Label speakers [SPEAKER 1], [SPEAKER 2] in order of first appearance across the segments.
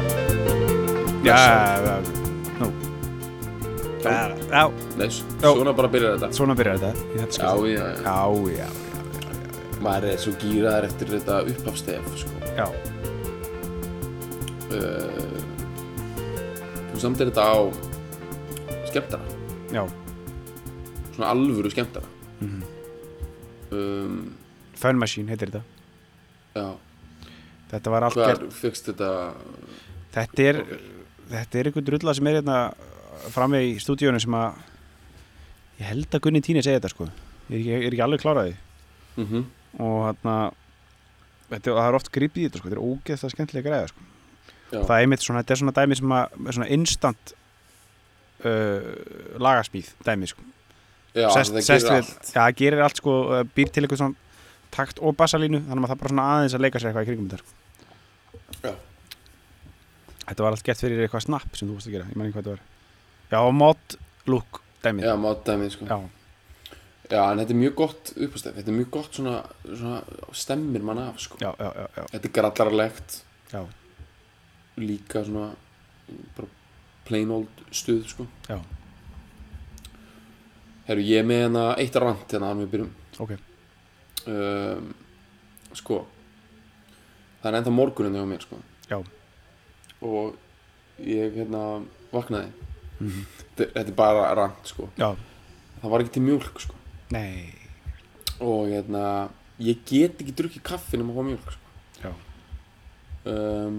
[SPEAKER 1] Já,
[SPEAKER 2] Blessaður.
[SPEAKER 1] já, nú, já, já,
[SPEAKER 2] Þess,
[SPEAKER 1] Já.
[SPEAKER 2] svona bara byrjar þetta
[SPEAKER 1] svona byrjar þetta í þetta
[SPEAKER 2] Já,
[SPEAKER 1] skipti.
[SPEAKER 2] já, já.
[SPEAKER 1] já, já,
[SPEAKER 2] Maður er svo gýraðar eftir þetta upphafstef sko.
[SPEAKER 1] já,
[SPEAKER 2] uh, og Samt er þetta á skemmtara
[SPEAKER 1] já,
[SPEAKER 2] Svona alvöru skemmtara
[SPEAKER 1] Mhm.
[SPEAKER 2] um,
[SPEAKER 1] Fun Machine heitir þetta
[SPEAKER 2] Já,
[SPEAKER 1] þetta var allt
[SPEAKER 2] hvar
[SPEAKER 1] gert,
[SPEAKER 2] fegst þetta
[SPEAKER 1] þetta er þetta er einhver drulla sem er hérna frammi í stúdíónu sem að ég held að Gunni Tíni segi þetta sko ég er ekki, ég er ekki alveg kláraði
[SPEAKER 2] mm
[SPEAKER 1] og hérna þetta, það er oft gripið í þetta sko, þetta er ógeðslega skemmtilega græða sko.
[SPEAKER 2] Já.
[SPEAKER 1] það er einmitt svona, þetta er svona dæmi sem að er svona instant uh, lagasmíð dæmi sko
[SPEAKER 2] Já,
[SPEAKER 1] sest,
[SPEAKER 2] það
[SPEAKER 1] sest
[SPEAKER 2] gerir
[SPEAKER 1] við,
[SPEAKER 2] allt
[SPEAKER 1] já, það gerir allt sko, uh, býr til eitthvað svona takt og bassalínu, þannig að það bara svona aðeins að leika sér eitthvað í kringum þetta sko.
[SPEAKER 2] Já.
[SPEAKER 1] Þetta var allt gett fyrir eitthvað snapp sem þú vorst að gera, ég menn ekki hvað þetta var Já, mod, look, dæmið
[SPEAKER 2] Já, mátdæmi sko.
[SPEAKER 1] já,
[SPEAKER 2] Já, en þetta er mjög gott upphafstef Þetta er mjög gott svona, svona stemmir mann af sko.
[SPEAKER 1] já, já, já, já,
[SPEAKER 2] Þetta er grallarlegt
[SPEAKER 1] já,
[SPEAKER 2] líka svona bara plain old stuð sko.
[SPEAKER 1] já,
[SPEAKER 2] Herru, ég er með hérna eitt rant hérna að við byrjum
[SPEAKER 1] ok
[SPEAKER 2] um, Sko Það er ennþá morgunin hjá mér sko
[SPEAKER 1] Já.
[SPEAKER 2] Og ég hérna vaknaði
[SPEAKER 1] Mhm.
[SPEAKER 2] þetta, þetta er bara rant sko
[SPEAKER 1] Já,
[SPEAKER 2] Það var ekki til mjólk sko
[SPEAKER 1] nei,
[SPEAKER 2] Og hérna Ég get ekki drukkið kaffi nema að fá mjólk sko
[SPEAKER 1] já,
[SPEAKER 2] um,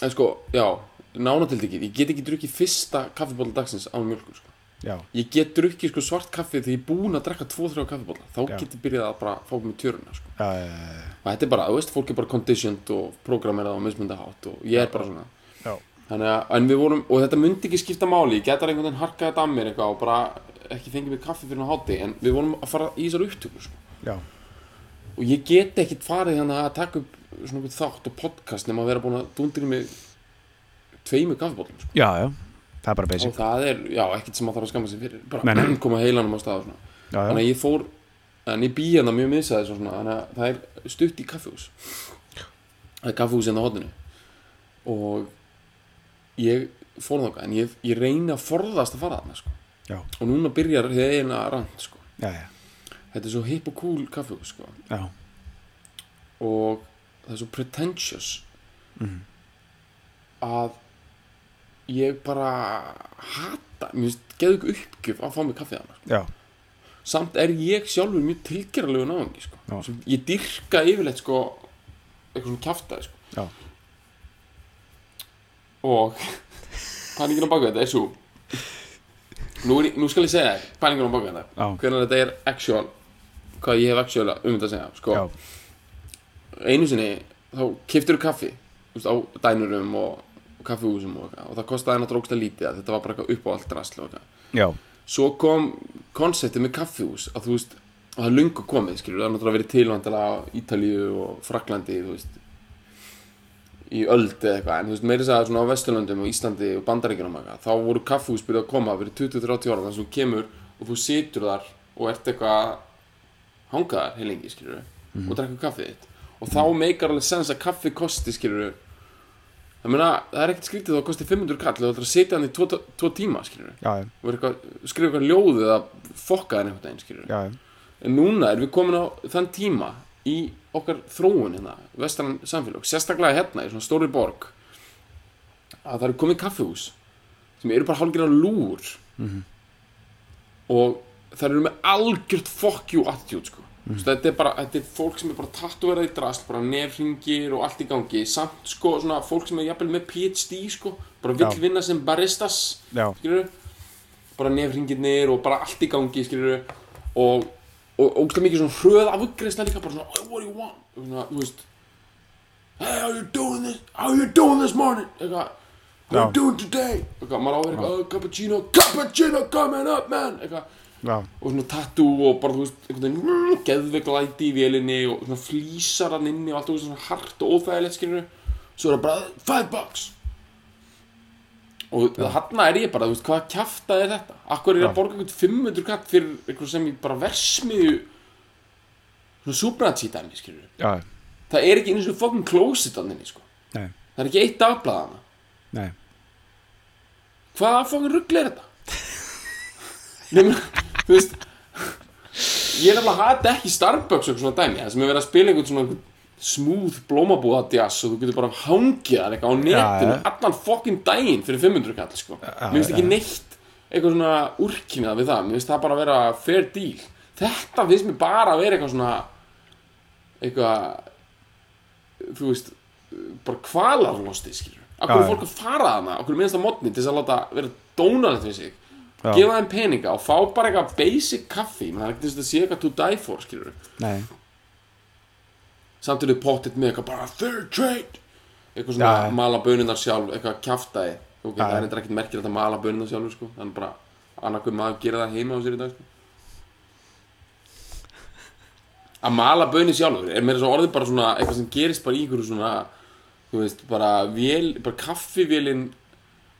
[SPEAKER 2] En sko, já Nánatiltekið, ég get ekki drukkið fyrsta kaffibóla dagsins án mjólku sko
[SPEAKER 1] já,
[SPEAKER 2] Ég get drukkið sko svart kaffi þegar ég er búinn að drekka 2-3 kaffibóla Þá
[SPEAKER 1] Já.
[SPEAKER 2] get ég byrjað að bara fá mig tjöruna sko
[SPEAKER 1] já, já,
[SPEAKER 2] Og þetta er bara, þú veist, fólk er bara conditioned og programmerað og mismundahátt og ég er bara svona
[SPEAKER 1] já,
[SPEAKER 2] Þannig að, en við vorum, og þetta myndi ekki skipta máli, ég getar einhvern veginn harkað þetta að mér eitthvað og bara ekki fengið mér kaffi fyrir hann háti En við vorum að fara í þessar upptöku, sko
[SPEAKER 1] já,
[SPEAKER 2] Og ég get ekkit farið hérna að taka upp svona einhvern þátt og podcast nema að vera búin að dundri mig tveimur kaffibóllum, sko
[SPEAKER 1] já, já, það er bara basic
[SPEAKER 2] Og það er, já, ekkit sem að þarf að skamma sig fyrir, bara
[SPEAKER 1] Nei, nei.
[SPEAKER 2] koma heilanum á stað og svona
[SPEAKER 1] Já, já,
[SPEAKER 2] Þannig að ég fór, en ég býja hérna mjög misaðis og svona, þannig að það er stutt í kaffihús. Það er kaffihús hérna á hotinu. Og ég fór þáka, en ég, ég reyni að forðast að fara þarna, sko.
[SPEAKER 1] já,
[SPEAKER 2] Og núna byrjar þið eina rand, sko.
[SPEAKER 1] já, já,
[SPEAKER 2] Þetta er svo hip og cool kaffihús, sko.
[SPEAKER 1] já,
[SPEAKER 2] Og það er svo pretentious
[SPEAKER 1] Mhm.
[SPEAKER 2] að ég bara hata, mér finnst, geðu ykkur uppgjöf að fá mig kaffið þarna, sko.
[SPEAKER 1] já,
[SPEAKER 2] samt er ég sjálfur mjög tilgerðarlegu náðungi sko.
[SPEAKER 1] Já.
[SPEAKER 2] Sem ég dyrka yfirleitt sko, eitthvað svona kjaftaði sko.
[SPEAKER 1] já,
[SPEAKER 2] og pælingin á baka þetta er svo nú, er, ég- nú skal ég segja þér pælingin á baka þetta
[SPEAKER 1] já,
[SPEAKER 2] hvernig þetta er actual hvað ég hef actual um þetta að segja sko.
[SPEAKER 1] já,
[SPEAKER 2] einu sinni þá keftur þú kaffi þú veist, á dænurum og, og kaffihúsum og, eitthvað, og það kostaði hann að dróksta lítið að þetta var bara eitthvað upp á allt drasl og eitthvað
[SPEAKER 1] já,
[SPEAKER 2] svo kom konseptið með kaffihús að þú veist, að það er lungu komið skilur, það er náttúrulega verið tilvandilega á Ítalíu og Fraklandi, þú veist í öld eða eitthvað en þú veist, meiri sagði svona á Vesturlöndum og Íslandi og Bandaríkjunum og eitthvað, þá voru kaffihús byrjuð að koma fyrir 20-30 ára, þannig að þú kemur og þú situr þar og ert eitthvað að hanga þar heilengi, skilur og drekka kaffið þitt og þá meikar alveg sens að kaffi kosti, skilur það meina, það er ekkert skrítið þá kosti 500 kall og þú ætlar að sitja hann í tvo, tvo tíma, skilur
[SPEAKER 1] já, já,
[SPEAKER 2] og er eitthvað, skrifa eitthvað ljóð eða fokka þér einhvern veginn, skilur
[SPEAKER 1] já,
[SPEAKER 2] en núna erum við komin á þann tíma í okkar þróun hérna, vestrann samfélag, sérstaklega hérna í svona stóri borg að það eru komið kaffihús sem eru bara hálfgerðar lúur
[SPEAKER 1] Mhm.
[SPEAKER 2] og það eru með algjört fuck you attitude sko. mm
[SPEAKER 1] Mhm.
[SPEAKER 2] þetta, er bara, þetta er fólk sem er bara tattuverað í drasl, bara nefringir og allt í gangi, samt sko svona fólk sem er jafnvel með PhD sko, bara vill
[SPEAKER 1] Já.
[SPEAKER 2] vinna sem baristas
[SPEAKER 1] já,
[SPEAKER 2] skilur bara nefringirnir og bara allt í gangi skilur og og ógstlega mikið svona hröð afgreðsla líka bara svona I what do you want Og svona, þú veist Hey, how you doing this? How you doing this morning? Eitthvað How you
[SPEAKER 1] Já.
[SPEAKER 2] doing today? Eitthvað, maður áverið eitthvað, oh, cappuccino, cappuccino coming up, man Eitthvað,
[SPEAKER 1] já,
[SPEAKER 2] og svona tattoo og bara, þú veist, einhvern veginn geðveik læti í vélinni og svona flýsar hann inni og allt og svona hart og óþægilegt skilur svo er það bara, five bucks og ja. þarna er ég bara, þú veist, hvað kjafta er þetta? Akkur er ég
[SPEAKER 1] Já.
[SPEAKER 2] að borga einhvern 500 katt fyrir einhver sem ég bara versmiðu svona súbransi dæmi, skilur
[SPEAKER 1] já,
[SPEAKER 2] það er ekki eins og fokkin closet hann inni, sko
[SPEAKER 1] nei,
[SPEAKER 2] það er ekki eitt dagblað hana
[SPEAKER 1] nei
[SPEAKER 2] hvaða fokkin ruggli er þetta? Nefnir, þú veist ég er alveg að hata ekki Starbucks og eitthvað svona dæmi, það sem er verið að spila einhvern svona einhvern smooth blómabúða djass og þú getur bara hangið hann eitthvað á netinu
[SPEAKER 1] Já, já.
[SPEAKER 2] allan fokkin daginn fyrir 500 kall sko. mér finnst ekki neitt eitthvað svona úrkynað við það, mér finnst það bara að vera fair deal, þetta finnst mér bara að vera eitthvað svona eitthvað þú veist, bara kvalarlosti skilur, akkur
[SPEAKER 1] Já,
[SPEAKER 2] er
[SPEAKER 1] já.
[SPEAKER 2] fólk að fara þarna okkur minnst að mótni til þess að láta vera dónalegt við sig
[SPEAKER 1] Já.
[SPEAKER 2] gefa þeim peninga og fá bara eitthvað basic kaffi, menn það er ekki þess að sé eitthvað to die for skilur,
[SPEAKER 1] Nei,
[SPEAKER 2] samt eru pottitt með eitthvað bara fair trade eitthvað svona
[SPEAKER 1] Já, já.
[SPEAKER 2] mala bönunar sjálf, eitthvað kjaftaði okay,
[SPEAKER 1] Já,
[SPEAKER 2] það
[SPEAKER 1] já.
[SPEAKER 2] er eitthvað ekkert merkilegt að mala bönunar sjálf sko. þannig bara annað hver maður gera það heima á sér í dag sko. að mala bönir sjálfur er meira svo orðið bara svona eitthvað sem gerist bara í einhverju svona þú veist, bara, vél, bara kaffivélin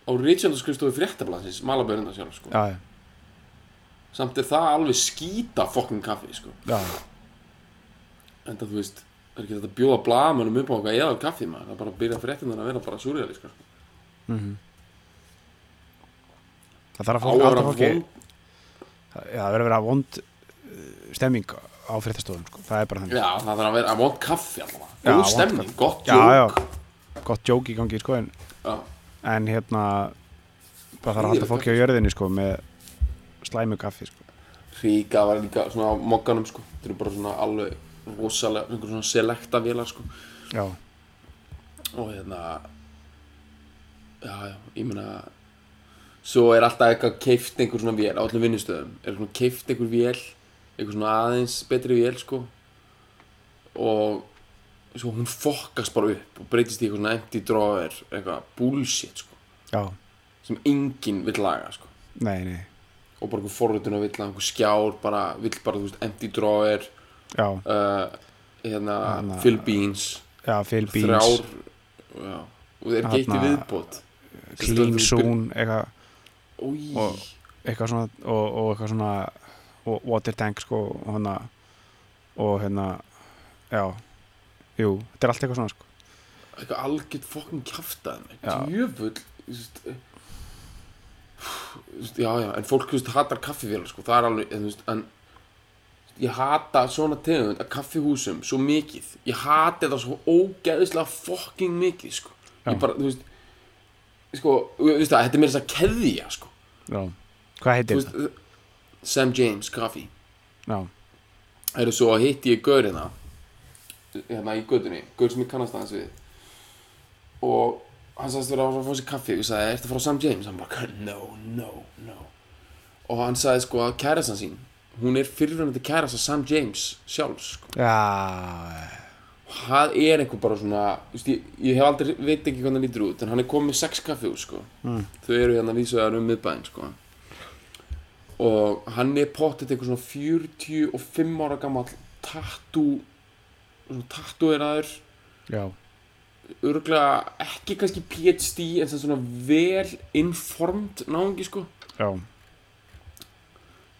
[SPEAKER 2] á Richardskrifstofu fréttablansins mala bönunar sjálf sko.
[SPEAKER 1] já,
[SPEAKER 2] samt er það alveg skýta fokkun kaffi sko.
[SPEAKER 1] já,
[SPEAKER 2] en það þú veist það er ekki þetta að bjóða blagamönnum upp á eitthvað eða á kaffi maður, það er bara að byrja fréttinnar að vera bara súrrealískar sko.
[SPEAKER 1] það þarf að
[SPEAKER 2] á
[SPEAKER 1] fólk
[SPEAKER 2] að
[SPEAKER 1] halda
[SPEAKER 2] vera
[SPEAKER 1] fólki
[SPEAKER 2] von
[SPEAKER 1] það það verður að vera vond uh, stemming á fyrirtastofum sko. það er bara þannig
[SPEAKER 2] já, það þarf að vera að von kaffi allavega,
[SPEAKER 1] Já,
[SPEAKER 2] góð
[SPEAKER 1] vont
[SPEAKER 2] stemning, gott
[SPEAKER 1] já,
[SPEAKER 2] jók
[SPEAKER 1] já, gott jók í gangi sko, en,
[SPEAKER 2] Já.
[SPEAKER 1] en hérna bara þarf að
[SPEAKER 2] Lífið
[SPEAKER 1] halda fólki á jörðinni sko, með slæmu kaffi sko.
[SPEAKER 2] hríka var líka svona á mokkanum sko. það eru bara svona alveg rosalega einhver svona selekta vélar sko.
[SPEAKER 1] já,
[SPEAKER 2] og hérna já, já, ég meina svo er alltaf eitthvað keift einhver svona vél á öllum vinnustöðum er svona keift einhver vél einhver svona aðeins betri vél sko og svo hún fokkast bara upp og breytist í eitthvað svona empty drawer eitthvað bullshit sko
[SPEAKER 1] já,
[SPEAKER 2] sem enginn vill laga sko
[SPEAKER 1] nei, nei
[SPEAKER 2] og bara einhver forrutun að vill laga einhver skjár bara vill bara þú veist empty drawer
[SPEAKER 1] já,
[SPEAKER 2] uh, hérna
[SPEAKER 1] Þarna-
[SPEAKER 2] fill beans
[SPEAKER 1] já, Phil Beans,
[SPEAKER 2] þrjár já, og það er ekki eitt í
[SPEAKER 1] Þarna-
[SPEAKER 2] viðbót
[SPEAKER 1] Clean Zone eitthvað
[SPEAKER 2] Új,
[SPEAKER 1] Og- eitthvað svona og, og eitthvað svona og water tank sko og hérna og hérna já, jú, þetta er allt eitthvað svona sko
[SPEAKER 2] eitthvað algjört fokkin kjaftaði mig
[SPEAKER 1] Já.
[SPEAKER 2] djöfull þú veist, eh, þú veist, já já, en fólk þú veist, hatar kaffifélag sko, það er alveg en, þú veist, en ég hata svona tegund að kaffihúsum svo mikið ég hati það svo ógeðislega fokkin mikið sko,
[SPEAKER 1] Já.
[SPEAKER 2] ég bara, þú veist sko, þú veist það, þetta er mér þess að keðja sko,
[SPEAKER 1] já. hvað heitir
[SPEAKER 2] þú
[SPEAKER 1] þetta?
[SPEAKER 2] veist eh, Sam James kaffi
[SPEAKER 1] Já,
[SPEAKER 2] Herru, svo hitti ég gaurina hérna í götunni, gaur sem ég kannast aðeins við og hann sagðist vera að fara að fá sér kaffi og ég sagði, ertu að fara á Sam James? hann bara, no, no, no og hann sagði sko að kærastan sín hún er fyrirvæmandi kærasta Sam James sjálfs sko.
[SPEAKER 1] já,
[SPEAKER 2] hann er einhver bara svona þú veist, ég, ég hef aldrei, veit ekki hvernig hann lítur út en hann er komið með sex kaffi úr sko. mm. þau eru hérna vísuðar um miðbæðin sko. og hann er pottet einhver svona 45 ára gammal tattoo svona tattooeraður
[SPEAKER 1] já,
[SPEAKER 2] örgulega ekki kannski PhD en sem svona vel informed náungi sko
[SPEAKER 1] já,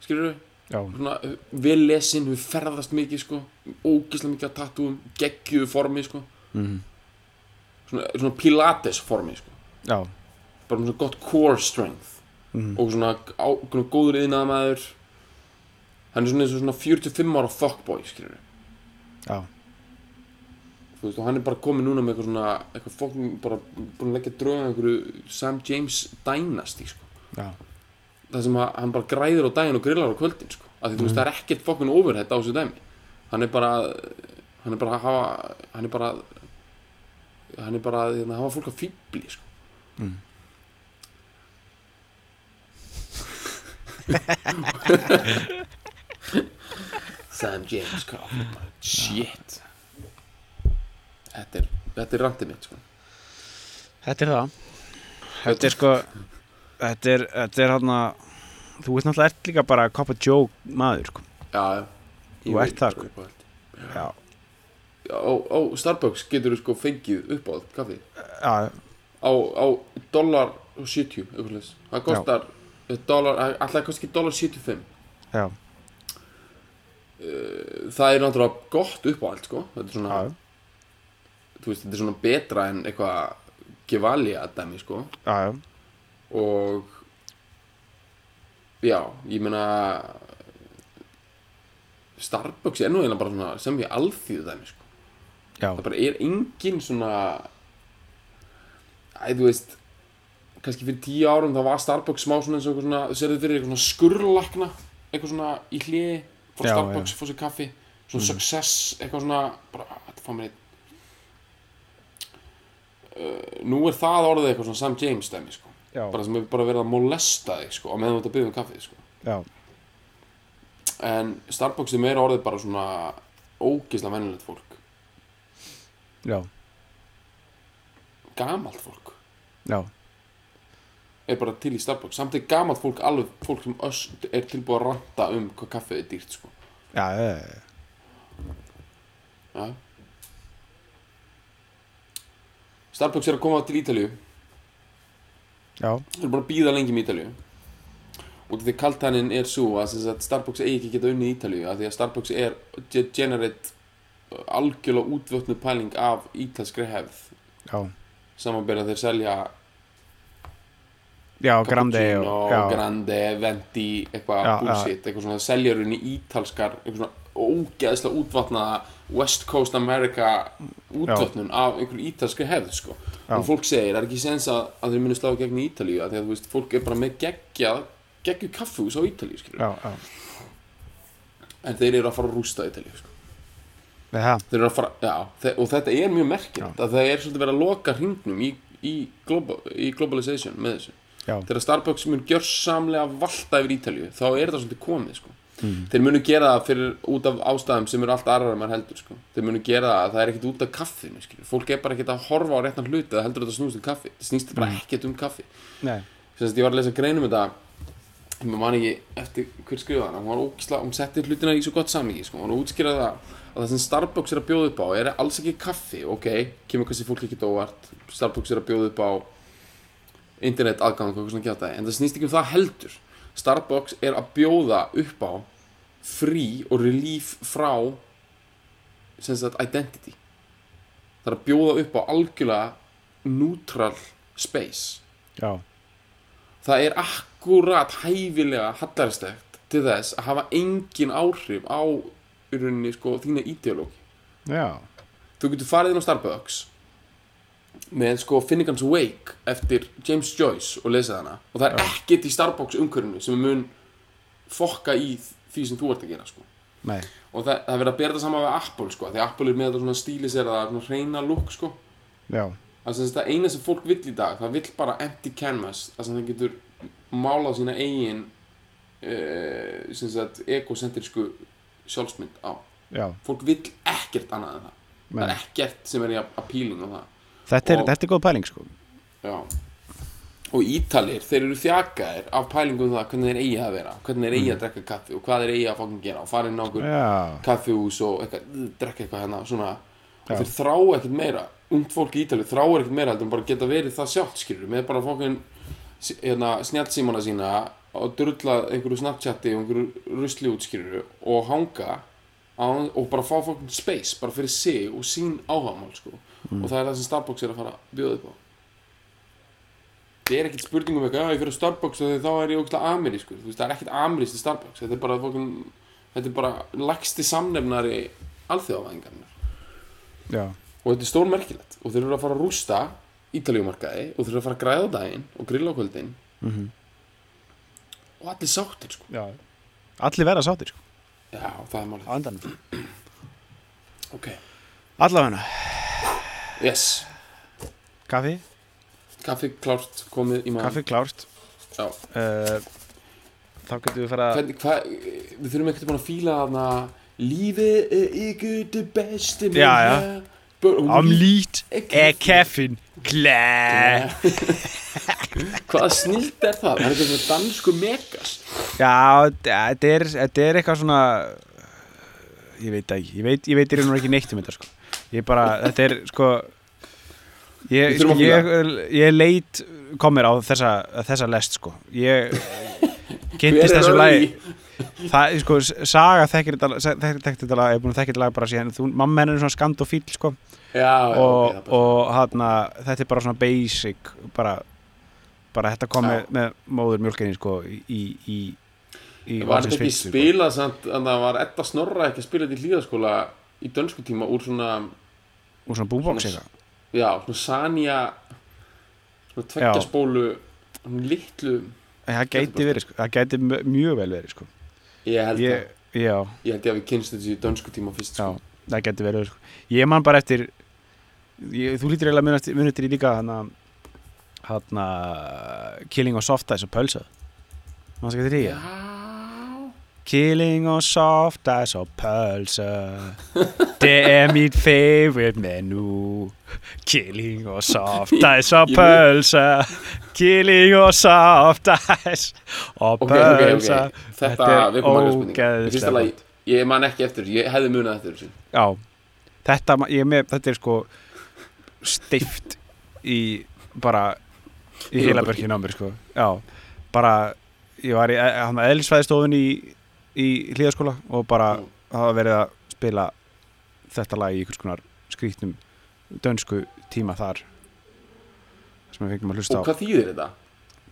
[SPEAKER 2] skilur þau
[SPEAKER 1] já,
[SPEAKER 2] svona uh, vel lesin, við ferðast mikið sko, ógislega mikið að tattúum geggjuðu formi sko
[SPEAKER 1] Mhm.
[SPEAKER 2] svona, svona pilates formi sko,
[SPEAKER 1] já,
[SPEAKER 2] bara með svona gott core strength
[SPEAKER 1] Mhm.
[SPEAKER 2] og svona, á, svona góður yðnaðamæður hann er svona eins og svona 45 ára fuckboy skilur
[SPEAKER 1] já,
[SPEAKER 2] þú veist og hann er bara komið núna með eitthvað svona eitthvað fokkin bara búin að leggja drauga að einhverju Sam James Dynasty sko
[SPEAKER 1] já,
[SPEAKER 2] það sem að hann bara græðir á daginn og grillar á kvöldin sko. af því þú veist það er
[SPEAKER 1] Mm.
[SPEAKER 2] ekkert fokkun overhead á þessu dæmi hann er bara hann er bara að hafa hann er bara hann er bara að hérna, hafa fólk að fýbli sko.
[SPEAKER 1] Mm.
[SPEAKER 2] Sam James Crawford bara, shit þetta er þetta er randið mitt sko.
[SPEAKER 1] Þetta er það Þetta er sko Þetta er, þetta er hann að Þú veist náttúrulega ert líka bara cop a joke maður sko.
[SPEAKER 2] já, já. Ég
[SPEAKER 1] Þú
[SPEAKER 2] veit
[SPEAKER 1] ert það, sko.
[SPEAKER 2] uppáhald.
[SPEAKER 1] Já,
[SPEAKER 2] Já, á, á Starbucks getur þú sko fengið uppáð kaffi
[SPEAKER 1] já,
[SPEAKER 2] á, á dólar og 70 eitthvað leis. það kostar eh, dólar, alltaf kannski dólar 75
[SPEAKER 1] já,
[SPEAKER 2] það er náttúrulega gott uppáhald sko. þetta, er svona,
[SPEAKER 1] já,
[SPEAKER 2] þú veist, þetta er svona betra en eitthvað gevalja að dæmi sko.
[SPEAKER 1] já,
[SPEAKER 2] og já, ég meina Starbucks er nú eiginlega bara svona sem ég alþýðu dæmi sko.
[SPEAKER 1] já,
[SPEAKER 2] það bara er engin svona æ, þú veist kannski fyrir tíu árum þá var Starbucks smá svona eins og eitthvað svona, þú serðu fyrir eitthvað svona skurrlakna eitthvað svona í hliði frá
[SPEAKER 1] Já, Mm.
[SPEAKER 2] Starbucks, fór sér kaffi svona success, eitthvað svona bara, ah, þetta fá mér einn uh, nú er það orðið eitthvað svona Sam James dæmi sko
[SPEAKER 1] já,
[SPEAKER 2] bara sem hefur bara verið að molesta þig sko á meðan þú ert að byggja um kaffið sko
[SPEAKER 1] já,
[SPEAKER 2] en Starbucks er meira orðið bara svona ógislega mennilegt fólk
[SPEAKER 1] já,
[SPEAKER 2] gamalt fólk
[SPEAKER 1] já,
[SPEAKER 2] er bara til í Starbucks samt er gamalt fólk alveg fólk sem öss er tilbúið að ranta um hvað kaffið er dýrt sko
[SPEAKER 1] já, já, já.
[SPEAKER 2] ja. Starbucks er að koma til Ítalíu
[SPEAKER 1] já,
[SPEAKER 2] þeir eru bara að býða lengi með Ítalíu og því kaltanin er svo að, sem sagt, Starbucks eigi ekki að geta unni í Ítalíu að því að Starbucks er ge- generate uh, algjörlega útvötnu pæling af ítalskri hefð
[SPEAKER 1] já,
[SPEAKER 2] samanbyrða þeir selja
[SPEAKER 1] já, grandi
[SPEAKER 2] Cappuccino,
[SPEAKER 1] og, já,
[SPEAKER 2] Grande, Venti, eitthvað
[SPEAKER 1] Já, já.
[SPEAKER 2] bullshit, eitthvað svona seljarunni ítalskar, eitthvað svona ógeðslega útvatnaða West Coast America útvötnun af einhverju ítalskri hefð, sko.
[SPEAKER 1] Já.
[SPEAKER 2] Og fólk segir, það er ekki sens að, að þeir muni slá í gegn í Ítalíu, af því að þú veist, fólk er bara með geggja, geggju kaffús á Ítalíu, skilur.
[SPEAKER 1] já, já,
[SPEAKER 2] En þeir eru að fara að rústa Ítalíu, sko.
[SPEAKER 1] við það,
[SPEAKER 2] Þeir eru að fara, já, þe og þetta er mjög merkilegt, að það er svolítið verið að loka hringnum í, í, global, í globalization með þessu.
[SPEAKER 1] já,
[SPEAKER 2] þegar Starbucks mun gjörsamlega valta yfir Ítalju, þá er það svolítið komið sko. þeir munu gera það fyrir út af ástæðum sem eru allt aðrar en maður heldur sko. þeir munu gera það, það er ekkert út af kaffinu skilur. fólk er bara ekkert að horfa á réttan hluti það heldur að þetta snúst um kaffi, það snýst bara ekkert um kaffi
[SPEAKER 1] nei,
[SPEAKER 2] sem sagt ég var að lesa grein um þetta ég man ekki eftir hver skrifaðan hún var ógisla, hún setti hlutina í svo gott samingi sko. hún útskýraði það að það sem Starbucks er að bjóða upp á er alls ekki kaffi, ok kemur kannski fólk ekki dóvart Starbucks er að bjóða upp á internet aðgang og eitthvað svona kjáta en það snýst ekki um það heldur Starbucks er að bjóða upp á frí og relief frá sem sagt identity það er að bjóða upp á algjörlega neutral space
[SPEAKER 1] já,
[SPEAKER 2] það er akkurat hæfilega hallarstegt til þess að hafa engin áhrif á í rauninni sko þína ideológi
[SPEAKER 1] já,
[SPEAKER 2] þú getur farið inn á Starbucks með sko Finnegans Wake eftir James Joyce og lesið hana og það er ekkert í Starbucks umhverfinu sem mun fokka í því sem þú ert að gera sko
[SPEAKER 1] nei,
[SPEAKER 2] og það, það er verið að bera það sama við Apple sko því Apple er með þetta svona stílisera svona hreina lúk sko
[SPEAKER 1] já,
[SPEAKER 2] það, sem sagt, það eina sem fólk vill í dag það vill bara empty canvas það sem það getur málað sína eigin uh, sem sagt egocentrisku sjálfsmynd á
[SPEAKER 1] já,
[SPEAKER 2] fólk vill ekkert annað en það það
[SPEAKER 1] nei,
[SPEAKER 2] er ekkert sem er í appealing á það
[SPEAKER 1] þetta er,
[SPEAKER 2] Og-
[SPEAKER 1] þetta er góð pæling sko,
[SPEAKER 2] Já. Og Ítalir, þeir eru þjakaðir af pælingum um það hvernig þeir eigi að vera, hvernig þeir eigi að drekka kaffi og hvað þeir eigi að fokkin gera og fara inn á okkur
[SPEAKER 1] já,
[SPEAKER 2] kaffihús og eitthvað, uh, drekka eitthvað hérna svona og
[SPEAKER 1] Já.
[SPEAKER 2] þeir þrá ekkert meira, ungt fólk í Ítalið þrá ekkert meira heldur en bara geta verið það sjálft skilur með bara fokkin hérna, snjallsímana sína og drulla einhverju snapchati og einhverju rusli útskilur og hanga á, og bara fá fokkin space bara fyrir sig og sín áhagamál sko. og það er það sem Starbucks er að fara að bjóða upp á Það er ekkert spurningum eitthvað, já ég fyrir á Starbucks og þá er ég ógæslega amerískur, þú veist það er ekkert amerískt í Starbucks, þetta er bara fokkin, þetta er bara lagsti samnefnari alþjóðavæðingarnar
[SPEAKER 1] já,
[SPEAKER 2] og þetta er stór merkilegt og þeir eru að fara að rústa ítalíumarkaði og þeir eru að fara að græða á daginn og grilla á kvöldin
[SPEAKER 1] Mhm.
[SPEAKER 2] og allir sáttir sko,
[SPEAKER 1] já, allir verða sáttir sko,
[SPEAKER 2] já það er málið,
[SPEAKER 1] á endanum,
[SPEAKER 2] ok,
[SPEAKER 1] allavega
[SPEAKER 2] yes,
[SPEAKER 1] kaffi,
[SPEAKER 2] kaffi klárt komið í maður,
[SPEAKER 1] kaffi klárt,
[SPEAKER 2] já,
[SPEAKER 1] uh, þá getum við fara,
[SPEAKER 2] hvernig, hvað, við þurfum ekkert búin að fíla þarna Lífið er ykkur til besti
[SPEAKER 1] Já, já. Omlít
[SPEAKER 2] Ekki-
[SPEAKER 1] er kaffin Klæ
[SPEAKER 2] Hvaða snild er það? Hann er eitthvað svona dansku megas
[SPEAKER 1] Já, þetta er, þetta er eitthvað svona Ég veit það ekki Ég veit, ég veit ég er ekki neitt um þetta sko. Ég bara, þetta er sko Ég,
[SPEAKER 2] Við
[SPEAKER 1] sko,
[SPEAKER 2] þurfum að
[SPEAKER 1] ég, ég leit komir á þessa, þessa lest sko. Ég kynntist
[SPEAKER 2] Hver er
[SPEAKER 1] þessu
[SPEAKER 2] Örn
[SPEAKER 1] lagi
[SPEAKER 2] í?
[SPEAKER 1] Það, sko, Saga þekkir þetta lag- þek- þekkti þetta lag, ég er búin að þekkir þetta lag bara síðan þú, mamma henni er svona skandofíl sko.
[SPEAKER 2] Já, já,
[SPEAKER 1] og,
[SPEAKER 2] ok, það er bara-
[SPEAKER 1] og hana, þetta er bara svona basic bara, bara þetta kom
[SPEAKER 2] Já.
[SPEAKER 1] með, með móður mjölkinni sko, í, í, í
[SPEAKER 2] Var
[SPEAKER 1] valsins
[SPEAKER 2] þetta ekki
[SPEAKER 1] fyrstu,
[SPEAKER 2] spilað samt, þannig að var Edda Snorra ekki að spila þetta í hlýðaskóla í dönsku tíma úr svona,
[SPEAKER 1] sko, úr svona búbox
[SPEAKER 2] Svona-
[SPEAKER 1] eitthvað
[SPEAKER 2] já, svona Sanja, svona
[SPEAKER 1] Já.
[SPEAKER 2] tveggjaspólu, svona litlu,
[SPEAKER 1] það gæti, verið, sko, það gæti mö- mjög vel verið sko.
[SPEAKER 2] ég held
[SPEAKER 1] ég, já,
[SPEAKER 2] að, ég held ég að við kynst þessu í dönsku tíma fyrst,
[SPEAKER 1] já,
[SPEAKER 2] sko.
[SPEAKER 1] það gæti verið sko. ég man bara eftir ég, þú lítur eiginlega munast- munið eftir í líka hana, hana Killing of Soft Ice og Pölsað mannstu ekki eftir því?
[SPEAKER 2] Já,
[SPEAKER 1] Killing on soft ice og pölsa Det er mitt favorite menu Killing on soft ice og
[SPEAKER 2] Ég- ég-
[SPEAKER 1] pölsa Killing on soft ice og
[SPEAKER 2] ok, ok, ok,
[SPEAKER 1] pölsa
[SPEAKER 2] þetta
[SPEAKER 1] Þetta er
[SPEAKER 2] vekur margar spurningar.
[SPEAKER 1] ógeðslega
[SPEAKER 2] Í fyrsta lagi, ég man ekki eftir, þessu, ég hefði munið eftir þessu.
[SPEAKER 1] Já, þetta, ma- ég er með, þetta er sko stift í bara í
[SPEAKER 2] Heilabörkin.
[SPEAKER 1] heilabörkinu á mér sko Já, bara ég var í e- hann eðlisfæðistofun í, í hlýðaskóla og bara
[SPEAKER 2] Mm.
[SPEAKER 1] það var verið að spila þetta lag í einhvers konar skrýtnum dönsku tíma þar sem við fengum að hlusta á
[SPEAKER 2] Og hvað þýðir þetta?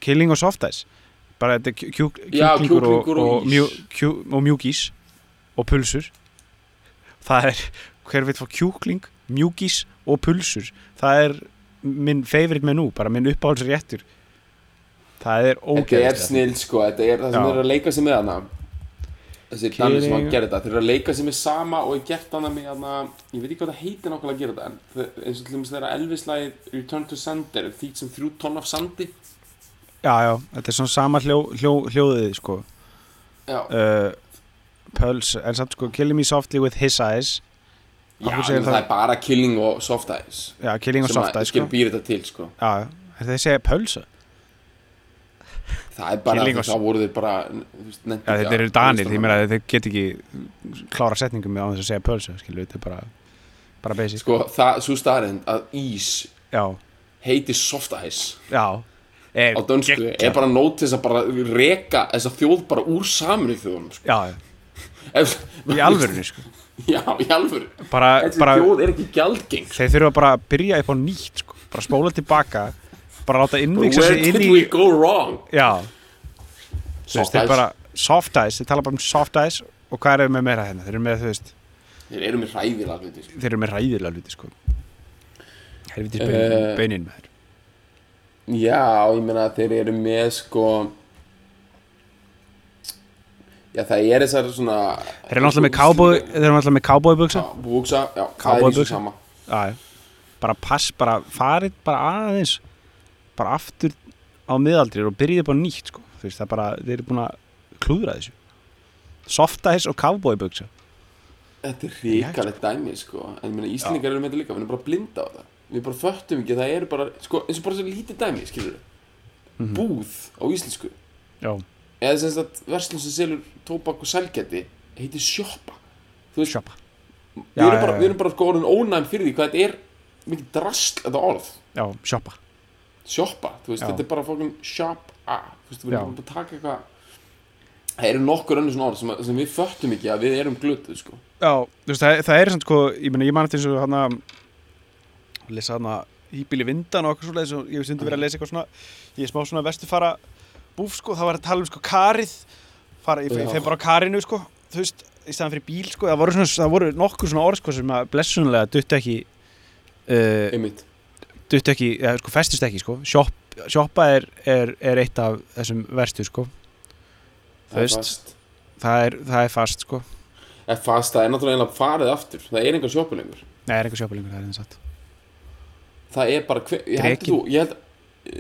[SPEAKER 1] Killing og Soft Ice bara þetta er kjú- kjú-
[SPEAKER 2] Já,
[SPEAKER 1] kjúklingur og, og,
[SPEAKER 2] kjúklingur og
[SPEAKER 1] og,
[SPEAKER 2] ís.
[SPEAKER 1] mjú, kjú, og mjúkís og pulsur það er, hver veit fá kjúkling mjúkís og pulsur það er minn favorite menú bara minn uppáhaldsréttur það er
[SPEAKER 2] Þetta er
[SPEAKER 1] ógeðist
[SPEAKER 2] snill sko, þetta er það sem
[SPEAKER 1] Já.
[SPEAKER 2] þeir eru að leika sig með hana Þessi danni sem hann
[SPEAKER 1] Kidding.
[SPEAKER 2] gerir þetta, þeir eru að leika sig með sama og ég gert hana með hana Ég veit ekki hvað það heitir nákvæmlega að gera þetta En þe- eins og til dæmis þeirra Elvis-lægið Return to Sand er þýtt sem þrjú tonn af sandi
[SPEAKER 1] já, já, þetta er svona sama hljó, hljó, hljóðið sko
[SPEAKER 2] Já,
[SPEAKER 1] uh, puls, en samt sko killing me softly with his eyes
[SPEAKER 2] já
[SPEAKER 1] af hverju
[SPEAKER 2] en
[SPEAKER 1] segir
[SPEAKER 2] það,
[SPEAKER 1] það-
[SPEAKER 2] er bara Killing og Soft Eyes
[SPEAKER 1] já, killing og
[SPEAKER 2] sem
[SPEAKER 1] soft
[SPEAKER 2] að
[SPEAKER 1] eyes
[SPEAKER 2] sko.
[SPEAKER 1] sko
[SPEAKER 2] býr þetta til sko
[SPEAKER 1] já, þeir segja pulsa
[SPEAKER 2] Það er bara
[SPEAKER 1] Killing
[SPEAKER 2] Killing
[SPEAKER 1] og-
[SPEAKER 2] þá voru þeir bara þú veist,
[SPEAKER 1] Já,
[SPEAKER 2] nenntu ekki
[SPEAKER 1] þetta
[SPEAKER 2] að-
[SPEAKER 1] eru danir,
[SPEAKER 2] tónlistarmenn.
[SPEAKER 1] því mér að þeir get ekki klára setningum á þess að segja pölsa, skilju, þetta er bara bara basic.
[SPEAKER 2] Sko, það, svo staðarind að ís
[SPEAKER 1] Já,
[SPEAKER 2] heiti Soft Eyes
[SPEAKER 1] já. Eh, Er,
[SPEAKER 2] á dönsku er bara nót til þess að bara reka þessa þjóð bara úr saminu þjóðum sko.
[SPEAKER 1] Já,
[SPEAKER 2] Ef-
[SPEAKER 1] í alvörunni, sko.
[SPEAKER 2] já, í alvöru
[SPEAKER 1] Bara,
[SPEAKER 2] þessi
[SPEAKER 1] bara,
[SPEAKER 2] þjóð er ekki gjaldgeng sko.
[SPEAKER 1] þeir þurfa bara að byrja upp á nýtt, sko. Bara spóla tilbaka, bara láta innvíksa
[SPEAKER 2] where
[SPEAKER 1] sig
[SPEAKER 2] did
[SPEAKER 1] inn í...
[SPEAKER 2] we go wrong
[SPEAKER 1] Já, þú veist, þeir
[SPEAKER 2] Soft
[SPEAKER 1] bara soft ice, þeir tala bara um soft ice og hvað eru með meira hérna? Þeir eru með, þú veist,
[SPEAKER 2] eyes. þeir eru með hræðilega hluti sko.
[SPEAKER 1] þeir eru með ræðilega hluti, sko. Helvitis
[SPEAKER 2] Eh.
[SPEAKER 1] beinin með þér.
[SPEAKER 2] já, ég meina að þeir eru með sko já, það er þessar svona
[SPEAKER 1] Þeir eru náttúrulega með cowboy, þeir eru náttúrulega með cowboy
[SPEAKER 2] já, búksa, já, það
[SPEAKER 1] Cowboy
[SPEAKER 2] er í
[SPEAKER 1] buxur.
[SPEAKER 2] svo sama
[SPEAKER 1] Já, já. bara pass, bara farið bara aðeins bara aftur á miðaldri og byrjið bara nýtt sko. Þú veist, það er bara, þeir eru búin að klúðra þessu soft ice og cowboy buksa
[SPEAKER 2] Þetta er ríkalegt dæmi, sko. En ég meina, Íslendingar eru með þetta líka, við erum bara blinda á það. Við bara föttum ekki, að það eru bara, sko, eins og bara svo lítið dæmi, skilur við.
[SPEAKER 1] Mhm.
[SPEAKER 2] Búð á íslensku.
[SPEAKER 1] Já,
[SPEAKER 2] Eða sem sagt, verslun sem selur tóbak og sælgæti, heitir sjoppa. Þú veist,
[SPEAKER 1] shoppa
[SPEAKER 2] við
[SPEAKER 1] já,
[SPEAKER 2] erum bara,
[SPEAKER 1] já.
[SPEAKER 2] við erum bara sko orðin ónæm fyrir því hvað þetta er mikið drasl, þetta orð.
[SPEAKER 1] Já, shoppa
[SPEAKER 2] Sjoppa, þú veist,
[SPEAKER 1] Já.
[SPEAKER 2] þetta er bara fokkin shoppa. Þú veist, við
[SPEAKER 1] Já.
[SPEAKER 2] erum bara að taka eitthvað. Það eru nokkur önnur svona orð sem, að- sem við föttum ekki að við erum glötuð, sko.
[SPEAKER 1] Já, þú veist, það, það er samt sko, ég meina, ég man eftir eins og hana lesa hana hýbíli vindan og okkur svo leiðis og ég hef stundum verið að lesa eitthvað svona ég er smá svona vestufara búf sko, það var að tala um sko karið fara, ég,
[SPEAKER 2] Já.
[SPEAKER 1] ég fer bara á karinu sko þú veist, í staðan fyrir bíl sko það voru, svona, það voru nokkur svona orð sko sem að blessunlega dutt ekki uh,
[SPEAKER 2] Einmitt.
[SPEAKER 1] dutt ekki, eða sko festist ekki sko Shop, shoppa er, er, er eitt af þessum verstu sko
[SPEAKER 2] Það er
[SPEAKER 1] veist.
[SPEAKER 2] fast.
[SPEAKER 1] það er, það er fast sko
[SPEAKER 2] En fast, það er náttúrulega eiginlega farið aftur. Það er engar sjoppu lengur.
[SPEAKER 1] Nei, það er einhver sjoppa lengur, það er enn satt
[SPEAKER 2] Það er bara hver... Ég held að
[SPEAKER 1] Drekinn.
[SPEAKER 2] þú, ég held,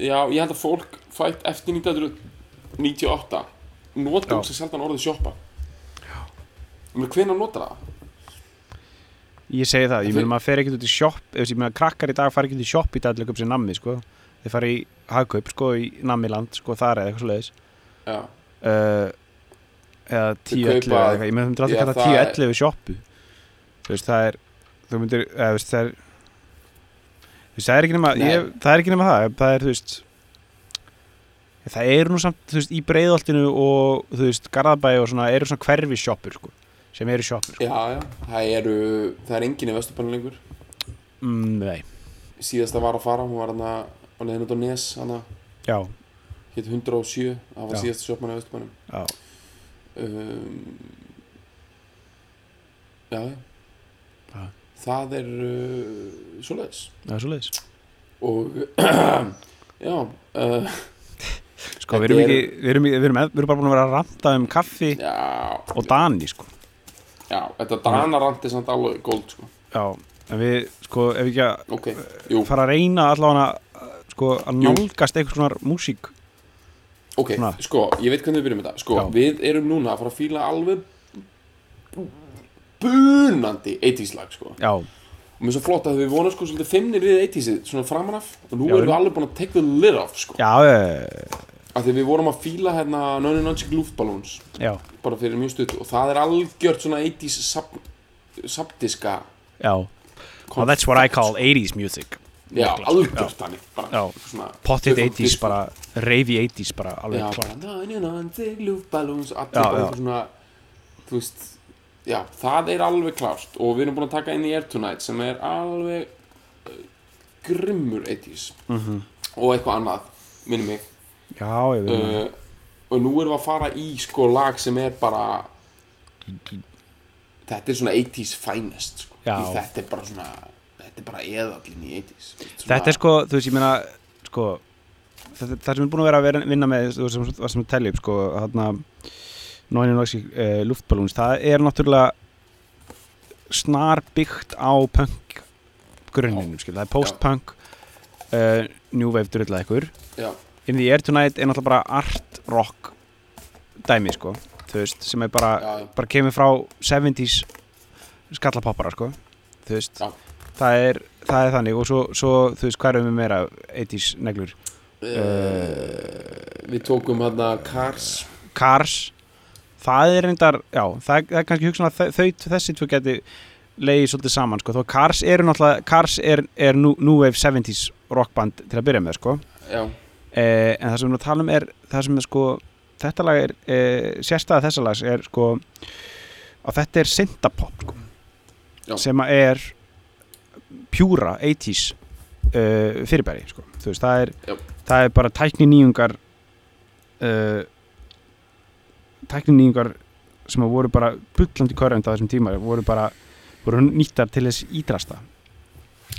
[SPEAKER 2] já, ég held að fólk fætt eftir 1998
[SPEAKER 1] Já.
[SPEAKER 2] nota um sig sjaldan orðið sjoppa. Já. Hvernig að nota það?
[SPEAKER 1] Ég segi það, ég
[SPEAKER 2] En
[SPEAKER 1] meina
[SPEAKER 2] þau-
[SPEAKER 1] maður fer ekkert út í shop ef þessi- ég meina krakkar í dag fara ekkert í shop í dag til að köpa sér nammi, sko þeir fara í hagkaup, sko, í nammiland, sko, þar eða eitthvað svo leiðis
[SPEAKER 2] já,
[SPEAKER 1] uh, eða 10-11
[SPEAKER 2] kaupa-
[SPEAKER 1] eða eitthvað, ég meina þeim drátti
[SPEAKER 2] Já,
[SPEAKER 1] að kalla
[SPEAKER 2] það er-
[SPEAKER 1] 10-11 shoppu þú veist, það er þú myndir, eða þú veist, það er þú veist, það er ekki nema
[SPEAKER 2] Nei.
[SPEAKER 1] ég, það er ekki nema það, það er, þú veist það eru nú samt, þú veist, í breiðoltinu og, þú veist, Garðabæi og svona, eru svona hverfi shoppur, sko sem eru shoppur, sko
[SPEAKER 2] já, já, það eru, það er enginn í Vesturbanum lengur
[SPEAKER 1] mm, nei,
[SPEAKER 2] síðasta var að fara, hún var hann á leiðin út á Nes, hann
[SPEAKER 1] já,
[SPEAKER 2] hétt 107, það var
[SPEAKER 1] Já.
[SPEAKER 2] síðasta sjoppan í Vesturbanum
[SPEAKER 1] já
[SPEAKER 2] um, já, já.
[SPEAKER 1] Já.
[SPEAKER 2] það er uh, svoleiðis
[SPEAKER 1] Það er svo leiðis.
[SPEAKER 2] og já, uh,
[SPEAKER 1] Sko, við
[SPEAKER 2] Þetta
[SPEAKER 1] erum,
[SPEAKER 2] er-
[SPEAKER 1] ekki, við, erum, við, erum, við erum bara búin að vera að ranta um kaffi
[SPEAKER 2] já,
[SPEAKER 1] og Dani, sko.
[SPEAKER 2] já þetta danarandi samt alveg góld sko.
[SPEAKER 1] Já, en við, sko, ef við ekki að
[SPEAKER 2] ok, jú,
[SPEAKER 1] fara að reyna allavega að, sko, að
[SPEAKER 2] Jú.
[SPEAKER 1] nálgast einhvers konar músík.
[SPEAKER 2] ok,
[SPEAKER 1] svona.
[SPEAKER 2] sko ég veit hvernig við byrjum þetta, sko
[SPEAKER 1] Já.
[SPEAKER 2] við erum núna að fara að fíla alveg bunandi 80s lag sko
[SPEAKER 1] Já,
[SPEAKER 2] og mér er svo flott að við vonum sko svolítið fimmnir við 80s svona framan af og nú
[SPEAKER 1] Já,
[SPEAKER 2] erum
[SPEAKER 1] við-
[SPEAKER 2] við alveg búin að take the lid off sko
[SPEAKER 1] já, eh,
[SPEAKER 2] af því við vorum að fíla hérna Nonny Nonchik Luftballons
[SPEAKER 1] já,
[SPEAKER 2] bara fyrir mjög stutt og það er algjört svona 80s sub, subdiska
[SPEAKER 1] já. Well, that's what I call 80s music.
[SPEAKER 2] já,
[SPEAKER 1] Mikla, sko.
[SPEAKER 2] algjört þannig bara
[SPEAKER 1] Já.
[SPEAKER 2] svona
[SPEAKER 1] Pottit
[SPEAKER 2] tökum
[SPEAKER 1] 80s
[SPEAKER 2] disco.
[SPEAKER 1] bara, reyfi 80s bara, alveg
[SPEAKER 2] já, bara
[SPEAKER 1] klart.
[SPEAKER 2] Nonny Nonchik Luftballons allir
[SPEAKER 1] Já,
[SPEAKER 2] bara
[SPEAKER 1] já.
[SPEAKER 2] eitthvað svona þú veist já, það er alveg klárt og við erum búin að taka inn í Air Tonight sem er alveg uh, grimmur 80s
[SPEAKER 1] Mhm.
[SPEAKER 2] og eitthvað annað, minnum mig
[SPEAKER 1] Já, ég veit
[SPEAKER 2] uh, og nú erum við að fara í sko lag sem er bara þetta er svona 80s finest sko.
[SPEAKER 1] Já.
[SPEAKER 2] Því þetta er bara svona þetta er bara eðallin í 80s svona,
[SPEAKER 1] Þetta er sko, þú veist, ég meina sko, það, það sem er búin að vera að vera, vinna með, þú veist, sem, sem telli upp sko, hérna Nóinu Nóksi uh, luftballons, það er náttúrulega snar byggt á punk grunninum, skil, það er post-punk uh, New Wave drulla ykkur
[SPEAKER 2] já,
[SPEAKER 1] In the Air Tonight er náttúrulega bara art rock dæmi, sko, þú veist sem er bara,
[SPEAKER 2] já, já,
[SPEAKER 1] bara kemur frá 70s skallapoppara sko þú veist
[SPEAKER 2] Já.
[SPEAKER 1] það er, það er þannig og svo, svo þú veist hvað erum við meira 80s neglur
[SPEAKER 2] uh, við tókum hérna Cars
[SPEAKER 1] Cars það er reyndar já það, er- það er kannski hugsan að þau- þau þessi tvö geti leiði svolítið saman sko þó að Cars eru náttúrulega Cars er, er nú, nú wave 70s rockband til að byrja með sko
[SPEAKER 2] já,
[SPEAKER 1] eh, en það sem við erum að tala um er það sem er sko þetta lag er eh, sérstæða þessa lags er sko að þetta er syndapop sko,
[SPEAKER 2] Já.
[SPEAKER 1] sem að er pjúra 80s uh, fyrirbæri sko. þú veist það er,
[SPEAKER 2] Já.
[SPEAKER 1] það er bara tækni nýjungar uh, tækni nýjungar sem að voru bara bullandi körrend á þessum tíma voru bara voru nýttar til þess ídrasta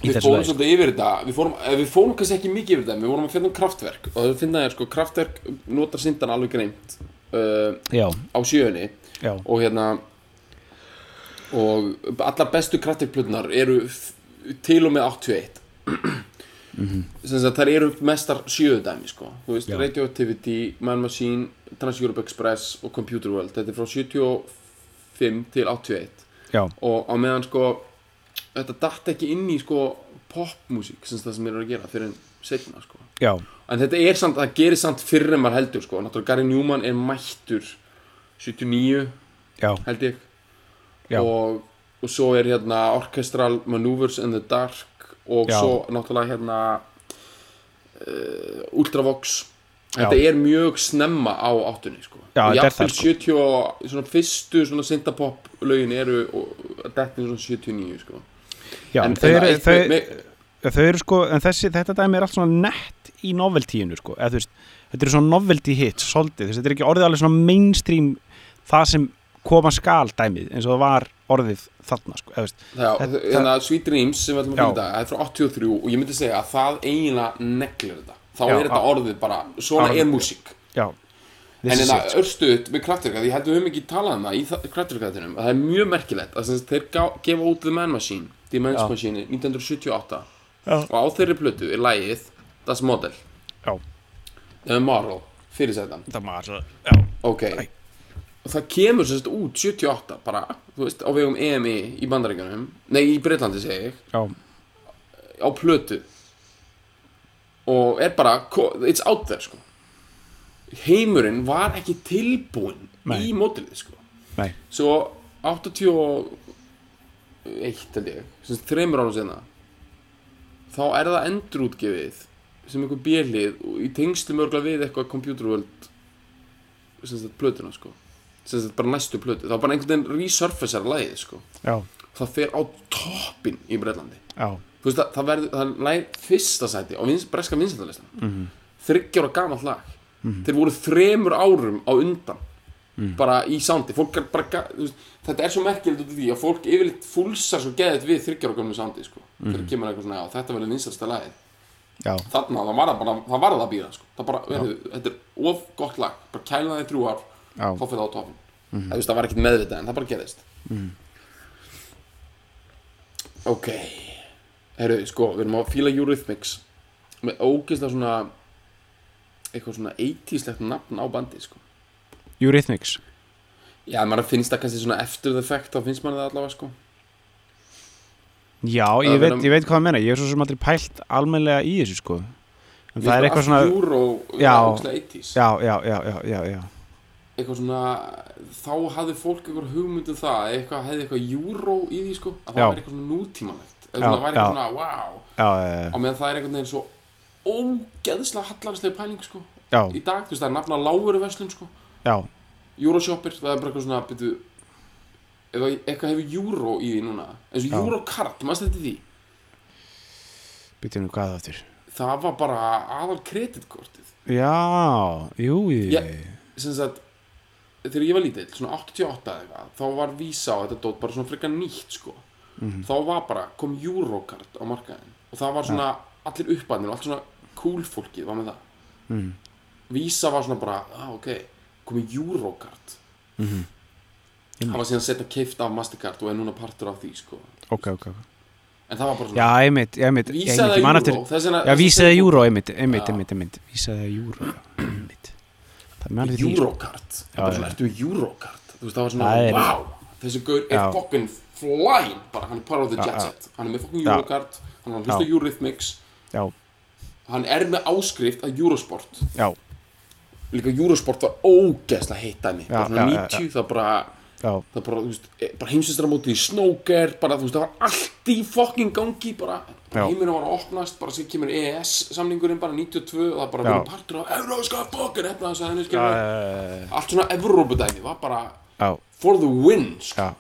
[SPEAKER 1] í
[SPEAKER 2] við
[SPEAKER 1] þessu
[SPEAKER 2] fórum
[SPEAKER 1] lagi sko.
[SPEAKER 2] svolítið yfir þetta við fórum, eh, við fórum kannski ekki mikið yfir þetta við vorum að finna um kraftverk og það finna þér sko kraftverk notar sindan alveg greint uh,
[SPEAKER 1] já,
[SPEAKER 2] á sjöunni
[SPEAKER 1] já,
[SPEAKER 2] og hérna og allar bestu kraftverkplutnar eru f- til og með 81 sem sagt þær eru mestar sjöðudæmi sko þú veist
[SPEAKER 1] Já.
[SPEAKER 2] Radioactivity, Man Machine, Trans-Europe Express og Computer World þetta er frá 75 til 81
[SPEAKER 1] já,
[SPEAKER 2] og á meðan sko þetta datt ekki inn í sko popmusík sem það sem eru að gera fyrir en setna sko
[SPEAKER 1] já,
[SPEAKER 2] En þetta er samt, það gerir samt fyrir en maður heldur sko Náttúrulega Gary Newman er mættur 79
[SPEAKER 1] já,
[SPEAKER 2] held ég
[SPEAKER 1] já,
[SPEAKER 2] og, og svo er hérna Orchestral Maneuvers in the Dark og
[SPEAKER 1] Já.
[SPEAKER 2] svo náttúrulega hérna uh, Ultravox
[SPEAKER 1] Já.
[SPEAKER 2] þetta er mjög snemma á áttunni sko.
[SPEAKER 1] Já,
[SPEAKER 2] og
[SPEAKER 1] þetta er það,
[SPEAKER 2] jafnvel 70 og svona fyrstu svona syndapopp lögin eru og þetta er svona 79 sko.
[SPEAKER 1] já.
[SPEAKER 2] en,
[SPEAKER 1] þau
[SPEAKER 2] en
[SPEAKER 1] eru-
[SPEAKER 2] eitt-
[SPEAKER 1] þau-
[SPEAKER 2] me-
[SPEAKER 1] Já, þau eru sko, en þessi, þetta dæmi er allt svona nett í noveltíinu sko, eða þú veist, þetta eru svona novelty hit, svolítið, þú veist, þetta er ekki orðið alveg svona mainstream það sem koma skal dæmið eins og það var orðið þarna sko, eða þú veist,
[SPEAKER 2] Já,
[SPEAKER 1] Þetta-
[SPEAKER 2] þannig að hérna, Sweet Dreams sem við ætlum að
[SPEAKER 1] Já.
[SPEAKER 2] fyrir þetta, það er frá 83 og ég myndi segja að það eiginlega neglir þetta þá
[SPEAKER 1] Já,
[SPEAKER 2] er þetta
[SPEAKER 1] á-
[SPEAKER 2] orðið bara, svona
[SPEAKER 1] Orðið.
[SPEAKER 2] er músík
[SPEAKER 1] já,
[SPEAKER 2] en
[SPEAKER 1] this is
[SPEAKER 2] en
[SPEAKER 1] it,
[SPEAKER 2] að örstuðt með kraftverka, því ég held við höfum ekki talað um það í kraftverkaðinum, það er mjög merkilegt að sem sagt þeir gá- gefa út The Man Machine The Man
[SPEAKER 1] Já.
[SPEAKER 2] Machine 1978
[SPEAKER 1] Já.
[SPEAKER 2] og á þeirri plötu er lægið Das Model,
[SPEAKER 1] sko. já,
[SPEAKER 2] The Moral fyrir sætan,
[SPEAKER 1] það var, já,
[SPEAKER 2] ok og það kemur sérst út 78 bara, þú veist, á vegum EMI í bandaríkanum, nei í Breitlandi segi ég,
[SPEAKER 1] já,
[SPEAKER 2] á plötu og er bara ko- it's out there sko heimurinn var ekki tilbúinn
[SPEAKER 1] Nei.
[SPEAKER 2] í mótilið sko
[SPEAKER 1] nei,
[SPEAKER 2] svo 81 held ég, sem sagt þreymur árum senna þá er það endurútgefið sem einhver björlið og í tengslu mörgla við eitthvað kompjúturvöld sem sagt plötuna sko sem sagt bara næstu plötu, þá bara einhvern veginn resurfacear lagið sko,
[SPEAKER 1] já,
[SPEAKER 2] það fer á toppin í Breitlandi
[SPEAKER 1] já,
[SPEAKER 2] þú veist það, það verður, það læg fyrsta sæti á vins, breska vinsendalistan mm -hmm. þryggjára gamall lag þeir voru þremur árum á undan bara í soundi fólk er bara, ga- þú veist, þetta er svo merkilegt út af því að fólk yfirleitt fúlsar svo geðið við þryggjára gamlu soundi sko. þegar kemur eitthvað svona, já þetta verður vinsalsta lagið
[SPEAKER 1] já,
[SPEAKER 2] þarna, það var það bara, það var það að býða sko. það bara, verður, þetta er of gott lag bara kæla það í þrjú ár,
[SPEAKER 1] Já.
[SPEAKER 2] þá fyrir það á tofn mm -hmm. það var ekkert meðvitað en það bara gerðist ok herru, sko, við erum að fíla Eurythmics með ógeðslega svona eitthvað svona 80-slegt nafn á bandi sko.
[SPEAKER 1] Eurythmics
[SPEAKER 2] já, en maður finnst það kannski svona eftir the fact þá finnst maður það allavega sko.
[SPEAKER 1] Já,
[SPEAKER 2] Það
[SPEAKER 1] ég
[SPEAKER 2] er
[SPEAKER 1] veit,
[SPEAKER 2] verið-
[SPEAKER 1] ég veit hvað það meina, ég er svo sem aldrei pælt almennilega í þessu sko En það er eitthvað svona,
[SPEAKER 2] allt Euro,
[SPEAKER 1] Já.
[SPEAKER 2] ógeðslega 80s
[SPEAKER 1] já, já, já, já, já, já
[SPEAKER 2] eitthvað svona þá hafði fólk einhver hugmynd um það eitthvað hefði eitthvað júró í því sko að það
[SPEAKER 1] Já.
[SPEAKER 2] væri eitthvað svona nútímanlegt eða
[SPEAKER 1] Já,
[SPEAKER 2] svona væri
[SPEAKER 1] já.
[SPEAKER 2] eitthvað svona wow
[SPEAKER 1] Já, já,
[SPEAKER 2] á meðan það er einhvern veginn svo ógeðslega hallarslega pæling sko
[SPEAKER 1] já,
[SPEAKER 2] í dag, þú veist, það er nafna láguru verslun sko
[SPEAKER 1] já,
[SPEAKER 2] júróshoppir, það er bara eitthvað svona byrju, eða eitthvað hefur júró í því núna eins og
[SPEAKER 1] Já.
[SPEAKER 2] júrókart, maður stætti því
[SPEAKER 1] býtum nú hvað það áttur
[SPEAKER 2] það var bara aðal kreditkortið
[SPEAKER 1] Já, jú,
[SPEAKER 2] Já.
[SPEAKER 1] ég,
[SPEAKER 2] sem sagt þegar ég var lítill, svona 88 eða eitthvað þá var Visa á þetta dót bara svona frekar nýtt sko. þá var bara, kom Eurocard á markaðin og það var svona allir uppbæðnir og allt svona cool fólkið var með það mm. Visa var svona bara, ah ok komið Eurocard mm. það var síðan setna keift af Mastercard og er núna partur af því sko.
[SPEAKER 1] ok, ok ok.
[SPEAKER 2] en það var bara svona
[SPEAKER 1] Já, einmitt, einmitt, ég
[SPEAKER 2] Visa
[SPEAKER 1] einmitt, ég man
[SPEAKER 2] eða
[SPEAKER 1] eftir
[SPEAKER 2] Euro þess vegna-
[SPEAKER 1] Já,
[SPEAKER 2] þess að
[SPEAKER 1] vísið eða
[SPEAKER 2] segja-
[SPEAKER 1] júró, einmitt, einmitt,
[SPEAKER 2] Já.
[SPEAKER 1] einmitt, einmitt Vísið eða júró, einmitt Það er með alveg því sko.
[SPEAKER 2] Eurocard Það er bara
[SPEAKER 1] já.
[SPEAKER 2] svona, ertu með Eurocard Þú veist, það var svona,
[SPEAKER 1] Það er-
[SPEAKER 2] wow, þessi gaur er
[SPEAKER 1] Já.
[SPEAKER 2] fokkin flying Bara, hann er part of the
[SPEAKER 1] Já,
[SPEAKER 2] jet
[SPEAKER 1] já.
[SPEAKER 2] set Hann er með fokkin
[SPEAKER 1] Já.
[SPEAKER 2] Eurocard Hann er að hlusta
[SPEAKER 1] Já.
[SPEAKER 2] Eurythmics
[SPEAKER 1] Já,
[SPEAKER 2] Hann er með áskrift að Eurosport
[SPEAKER 1] já,
[SPEAKER 2] Líka Eurosport var ógeðslega heitt dæmi
[SPEAKER 1] Já,
[SPEAKER 2] Bara
[SPEAKER 1] já,
[SPEAKER 2] svona
[SPEAKER 1] já,
[SPEAKER 2] 90, það bara
[SPEAKER 1] já,
[SPEAKER 2] Það bara, þú veist, eh, bara heimsistra í snóker Bara, þú veist, það var allt í fokkin gangi Bara,
[SPEAKER 1] Já.
[SPEAKER 2] heimurinn var að opnast Bara, sér kemur EES samningurinn bara 92 Og það bara,
[SPEAKER 1] Já.
[SPEAKER 2] við erum partur af Evróska fokkin Efnaðarsæðinu,
[SPEAKER 1] já,
[SPEAKER 2] skilur Allt svona Evrópudæmi var bara
[SPEAKER 1] já,
[SPEAKER 2] for the win sko.
[SPEAKER 1] já,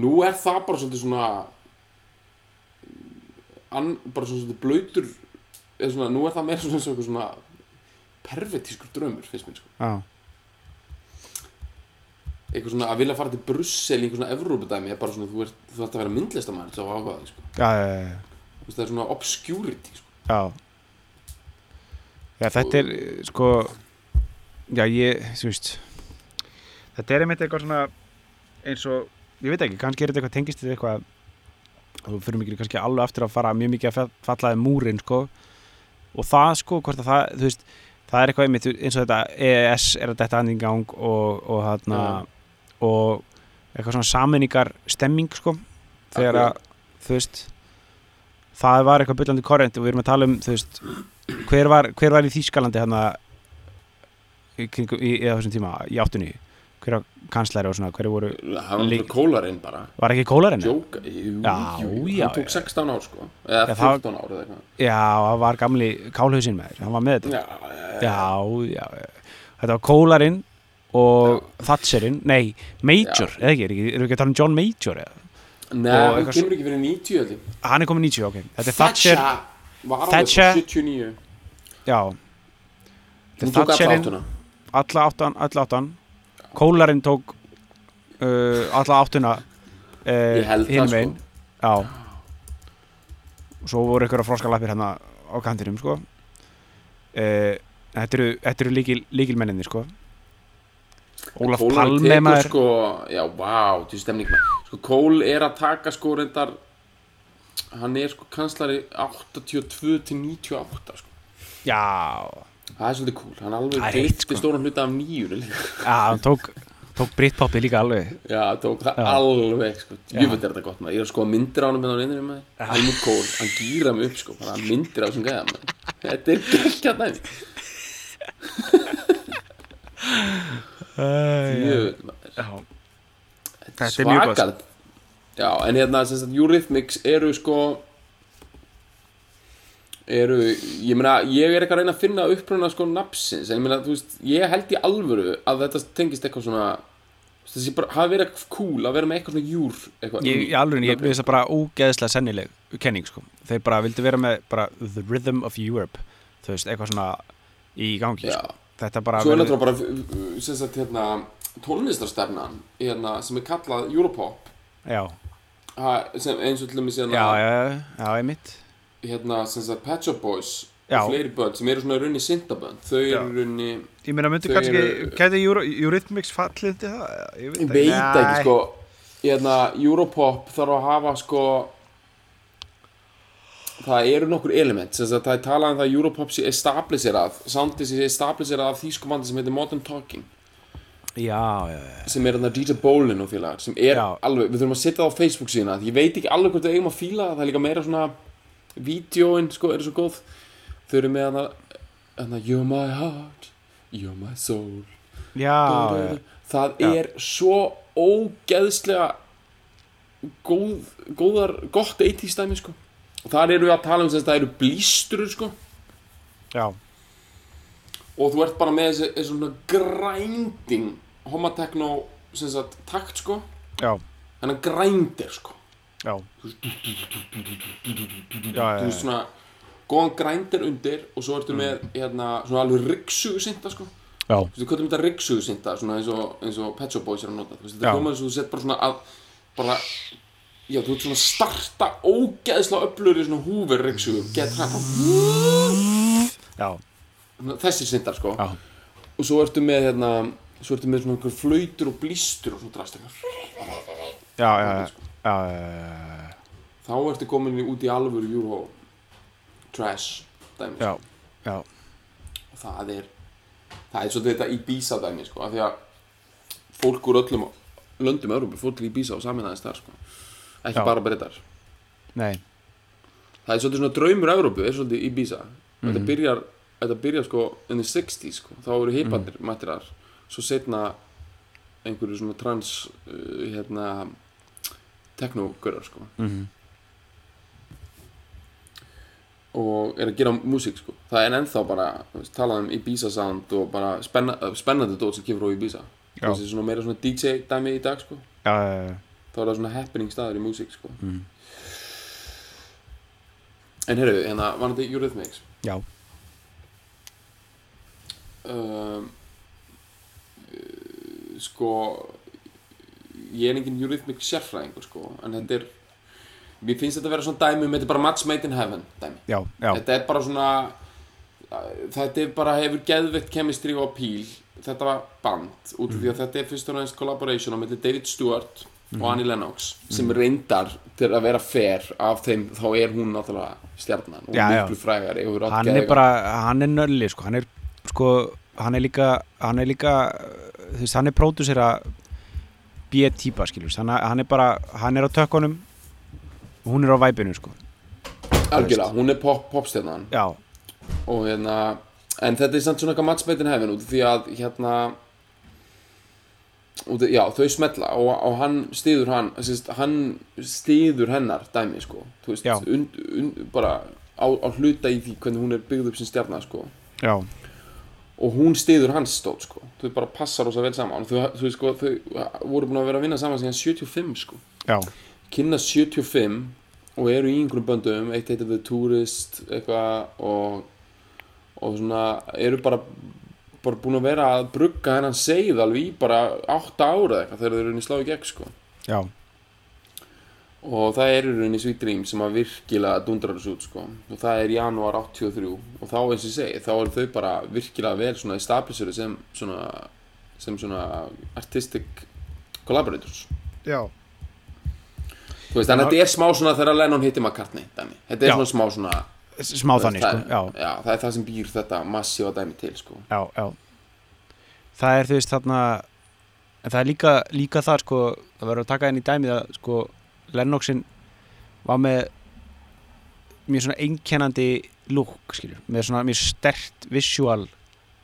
[SPEAKER 2] nú er það bara svolítið svona an, bara svona svolítið blöytur eða svona, nú er það meira svona, svona, svona pervertískur draumur finnst mér sko,
[SPEAKER 1] já,
[SPEAKER 2] eitthvað svona að vilja fara til Brussel í einhver svona Evrópudæmi er bara svona, þú, ert, þú ætti að vera myndlistamæður þá áhuga því, sko,
[SPEAKER 1] já, já, já.
[SPEAKER 2] Þú veist, það er svona obscurity, sko,
[SPEAKER 1] Já Já, þetta er eh, sko Já, ég, þú veist Þetta er einmitt eitthvað svona eins og, ég veit ekki, kannski er þetta eitthvað tengist þetta eitthvað og þú fyrir mikið kannski alveg aftur að fara mjög mikið að fallaði múrin sko og það sko, hvort að það, þú veist það er eitthvað einmitt eins og þetta EES er að þetta andin gang og, og þarna og eitthvað svona saminningar stemming sko þegar að, þú veist það var eitthvað byllandi korrent og við erum að tala um þú veist, hver var, hver var í Þýskalandi hann að í, kringum- í, í þessum tíma, í áttunni hver var kanslari og svona, hverju voru
[SPEAKER 2] það var
[SPEAKER 1] Lík-
[SPEAKER 2] náttúrulega kólarinn bara
[SPEAKER 1] var ekki kólarinn?
[SPEAKER 2] Jóka, jú,
[SPEAKER 1] Já,
[SPEAKER 2] jú,
[SPEAKER 1] já,
[SPEAKER 2] hann
[SPEAKER 1] já.
[SPEAKER 2] tók 16 ár sko eða
[SPEAKER 1] Já, það-
[SPEAKER 2] 14 ár eða eitthvað
[SPEAKER 1] Já, það var gamli kálhausinn með þér, hann var með þetta
[SPEAKER 2] Já, já, já,
[SPEAKER 1] já, já, þetta var kólarinn og Thatcherinn, nei, Major, eða ekki, er ekki, erum við ekki að tala um John Major eða? Og
[SPEAKER 2] Nei, hann
[SPEAKER 1] eitthvað
[SPEAKER 2] kemur ekki fyrir 90 allir
[SPEAKER 1] Hann er komin 90, ok, þetta er Thatcher,
[SPEAKER 2] var alveg
[SPEAKER 1] Thatcher.
[SPEAKER 2] frá 79
[SPEAKER 1] já, þetta er
[SPEAKER 2] hún tók alla
[SPEAKER 1] Thatcherinn,
[SPEAKER 2] áttuna
[SPEAKER 1] alla áttan, alla áttan Kólarinn tók uh, alla áttuna uh,
[SPEAKER 2] ég held
[SPEAKER 1] hinn
[SPEAKER 2] það sko
[SPEAKER 1] veginn Já Og Svo voru ykkur að froska lappir hérna á kantinum sko uh, Þetta eru, þetta eru líkil, líkilmenninni sko Ólaf
[SPEAKER 2] Kól
[SPEAKER 1] Palme
[SPEAKER 2] tekur,
[SPEAKER 1] maður
[SPEAKER 2] sko, já, vá, til stemning maður sko, Kól er að taka sko reyndar hann er sko kanslari 82 til 98 sko.
[SPEAKER 1] Já,
[SPEAKER 2] það er svolítið cool, hann
[SPEAKER 1] Það
[SPEAKER 2] alveg
[SPEAKER 1] er heitt,
[SPEAKER 2] geitti
[SPEAKER 1] sko.
[SPEAKER 2] stóran hluta af nýjur líka
[SPEAKER 1] Já, hann tók, tók Britpopið líka alveg
[SPEAKER 2] Já, tók það
[SPEAKER 1] Já.
[SPEAKER 2] alveg sko, djúfitt er þetta gott maður, ég er að skoða myndir á hann með á reynir maður, Helmut Kohl, hann gýra mig upp sko, bara hann myndir á þessum gæða maður, þetta er gekkja dæmi, djúfitt maður,
[SPEAKER 1] Þetta er mjög gott sko.
[SPEAKER 2] svakalt, já, en hérna, sem sagt, Eurythmics eru sko, eru, ég meina, ég er ekki að reyna að finna uppruna sko nafnsins, en ég meina, þú veist, ég held í alvöru að þetta tengist eitthvað svona, þú veist, þessi bara, hafi verið cool að vera með eitthvað svona júr, eitthvað,
[SPEAKER 1] Ég,
[SPEAKER 2] í-
[SPEAKER 1] í alveg, ég
[SPEAKER 2] nafni.
[SPEAKER 1] veist það bara ógeðslega sennileg kenning, sko. Þeir bara vildu vera með bara the rhythm of Europe, þú veist, eitthvað svona í gangi,
[SPEAKER 2] Já.
[SPEAKER 1] sko. Þetta bara
[SPEAKER 2] Svo er
[SPEAKER 1] verður-
[SPEAKER 2] náttúrulega bara uh, sem sagt, hérna, tónlistarstefnan hérna, sem er kallað Europop
[SPEAKER 1] Já,
[SPEAKER 2] ha, sem, eins og til dæmis
[SPEAKER 1] já,
[SPEAKER 2] hérna,
[SPEAKER 1] já, já, já, einmitt.
[SPEAKER 2] hérna, sem sagt, Pet Shop Boys
[SPEAKER 1] Já.
[SPEAKER 2] og fleiri bönd sem eru svona í rauninni syndabönd þau eru
[SPEAKER 1] Já.
[SPEAKER 2] í rauninni
[SPEAKER 1] Ég meina, myndu
[SPEAKER 2] Þau
[SPEAKER 1] kannski,
[SPEAKER 2] eru-
[SPEAKER 1] gæti Euro- Eurythmics fallið til það? Ég
[SPEAKER 2] ég veit
[SPEAKER 1] Nei.
[SPEAKER 2] ekki sko hérna, Europop þarf að hafa sko það eru nokkur element sem sagt, það er talað um það að Europop sé establisherað samtið sé establisherað af þýsku bandi sem heitir Modern Talking
[SPEAKER 1] Já, já, já.
[SPEAKER 2] sem er þarna DJ Bolin og félagar sem er
[SPEAKER 1] Já.
[SPEAKER 2] alveg, við þurfum að setja það á Facebook síðan ég veit ekki alveg hvort við eigum að fíla það það er líka meira svona vídjóin sko, er svo góð þau eru með hana, hana You're my heart, you're my soul
[SPEAKER 1] Já, já.
[SPEAKER 2] það
[SPEAKER 1] Já.
[SPEAKER 2] er svo ógeðslega góð, góðar, gott 80s dæmi sko og þar eru við að tala um þess að það eru blísturur sko
[SPEAKER 1] Já,
[SPEAKER 2] og þú ert bara með þessi, þessi svona grinding homotekno sem sagt takt sko
[SPEAKER 1] já,
[SPEAKER 2] þannig að grændir sko
[SPEAKER 1] já. Já, já,
[SPEAKER 2] þú veist
[SPEAKER 1] já.
[SPEAKER 2] svona góðan grændir undir og svo
[SPEAKER 1] Mm.
[SPEAKER 2] ertu með hérna, svona alveg ryggsugusinda sko þú
[SPEAKER 1] Já,
[SPEAKER 2] veist, hvað er þetta ryggsugusinda svona eins og, eins og Pet Shop Boys er að nota þú veist,
[SPEAKER 1] Já.
[SPEAKER 2] þetta hljómaður sem þú sett bara svona að bara, já, þú ert svona að starta ógeðslega öflur í svona húfur ryggsugum get hrætt
[SPEAKER 1] já,
[SPEAKER 2] þessi sindar sko
[SPEAKER 1] já.
[SPEAKER 2] og svo ertu með hérna svo ertu með svona einhver flautur og blístur og svona drast eitthvað
[SPEAKER 1] Já, já, já, já, já, já.
[SPEAKER 2] þá ertu komin í- út í alvöru Euro trash dæmis
[SPEAKER 1] Já, já,
[SPEAKER 2] og það er það er svolítið þetta Ibiza dæmi sko, af því að fólk úr öllum löndum Európa fór til Ibiza og saminæðist þar sko. ekki
[SPEAKER 1] Já.
[SPEAKER 2] bara breytar
[SPEAKER 1] nei.
[SPEAKER 2] það er svolítið svona draumur Európu er svolítið Ibiza þetta byrjar, þetta byrjar sko in the 60s sko, þá eru heipandir mm. mættir þar svo setna einhverju svona trans uh, hérna teknogörar sko
[SPEAKER 1] Mhm.
[SPEAKER 2] og er að gera músík sko það er ennþá bara, þú veist, talað um Ibiza sound og bara spenna, eh, spennandi dót sem kemur á Ibiza
[SPEAKER 1] Já.
[SPEAKER 2] þessi svona meira svona DJ dæmi í dag sko
[SPEAKER 1] Já, já, já.
[SPEAKER 2] þá er það svona happening staður í músík sko en heyrðu, hérna var þetta Eurythmics
[SPEAKER 1] Já,
[SPEAKER 2] um, eh, sko ég er engin Eurythmics sérfræðingur sko en þetta er mér finnst þetta að vera svona dæmi um þetta er bara match made in heaven dæmi
[SPEAKER 1] já, já,
[SPEAKER 2] þetta er bara svona þetta er bara hefur geðveikt kemistri og píl þetta var band út af því
[SPEAKER 1] Mhm.
[SPEAKER 2] að þetta er fyrst og næst collaboration á milli David Stewart og Annie Lennox
[SPEAKER 1] Mhm.
[SPEAKER 2] sem reyndar til að vera fair af þeim þá er hún náttúrulega stjarnan og
[SPEAKER 1] Já, já.
[SPEAKER 2] miklu frægari og hefur átt
[SPEAKER 1] hann er
[SPEAKER 2] geðveika-
[SPEAKER 1] bara, hann er nölli, sko, hann er, sko, hann er líka, hann er líka, uh, þú veist, hann er pródúsera B-típa, skiljum, hann, hann er bara, hann er á tökkunum, hún er á væpinu, sko,
[SPEAKER 2] algjörlega, hún er pop, popstjarnan
[SPEAKER 1] já,
[SPEAKER 2] og hérna en þetta er samt svona eitthvað mattsmeitin hefin út af því að hérna út, af- já, þau smetla og, og hann stiður hann sérst, hann stiður hennar dæmi sko, þú veist,
[SPEAKER 1] Já.
[SPEAKER 2] und, und, bara á, á hluta í því hvernig hún er byggð upp sem stjarnar sko
[SPEAKER 1] já,
[SPEAKER 2] og hún stiður hans stótt sko þau bara passar rosa vel saman og þau, þau, sko, þau voru búin að vera að vinna saman síðan 75 sko
[SPEAKER 1] já,
[SPEAKER 2] kynna 75 og eru í einhverjum böndum eitt heitir The Tourist eitthvað og, og svona eru bara, bara búin að vera að brugga hennan seið alveg í bara 8 ára eitthvað þegar þeir eru inn í slá í gegn sko
[SPEAKER 1] já,
[SPEAKER 2] og það er í rauninni Sweet Dream sem að virkilega dundrar þessu út sko og það er janúar 83 og þá eins og ég segi þá eru þau bara virkilega vel svona establisheru sem svona, sem svona artistic collaborators
[SPEAKER 1] já,
[SPEAKER 2] Þú veist, þannig að þetta er smá svona þegar Lennon hittir McCartney, dæmi. Þetta er
[SPEAKER 1] Já.
[SPEAKER 2] svona smá svona
[SPEAKER 1] smá
[SPEAKER 2] Þú veist,
[SPEAKER 1] þannig sko,
[SPEAKER 2] það,
[SPEAKER 1] já,
[SPEAKER 2] já, það er það sem býr þetta massífa dæmi til sko.
[SPEAKER 1] já, já það er þú veist þarna en það er líka, líka það sko það verður að taka henni í dæmið að sko Lennoxin var með mjög svona einkennandi lúk skilur, með svona mjög stert visual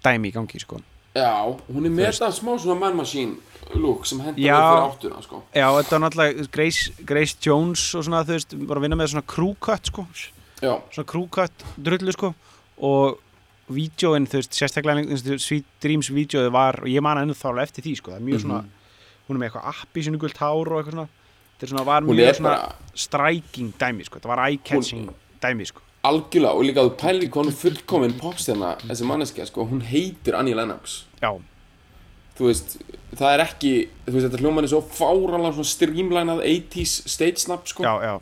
[SPEAKER 1] dæmi í gangi sko
[SPEAKER 2] já, hún er
[SPEAKER 1] Þú
[SPEAKER 2] með
[SPEAKER 1] veist.
[SPEAKER 2] þetta smá svona man machine look sem hendur
[SPEAKER 1] Já.
[SPEAKER 2] vel fyrir áttuna sko.
[SPEAKER 1] Já, þetta var náttúrulega Grace, Grace Jones og svona, þú veist, var að vinna með svona crew cut, sko, svona
[SPEAKER 2] já,
[SPEAKER 1] crew cut drullu, sko, og vídjóin, þú veist, sérstaklega eins og Sweet Dreams vídjóið var, og ég man ennþá alveg eftir því, sko, það er
[SPEAKER 2] Mhm.
[SPEAKER 1] mjög svona hún er með eitthvað appi sinu gult hár og eitthvað svona þetta er svona, var
[SPEAKER 2] hún
[SPEAKER 1] mjög
[SPEAKER 2] er
[SPEAKER 1] svona
[SPEAKER 2] bara
[SPEAKER 1] striking dæmi, sko, þetta var eye-catching dæmi, sko,
[SPEAKER 2] algjörlega og líka að þú pælir hvað hún er fullkomin popstjarna þessi manneskja sko, hún heitir Annie Lennox
[SPEAKER 1] já,
[SPEAKER 2] þú veist, það er ekki þú veist, þetta hljóman er svo fáralega svona streamlænað 80s stage snap sko.
[SPEAKER 1] já, já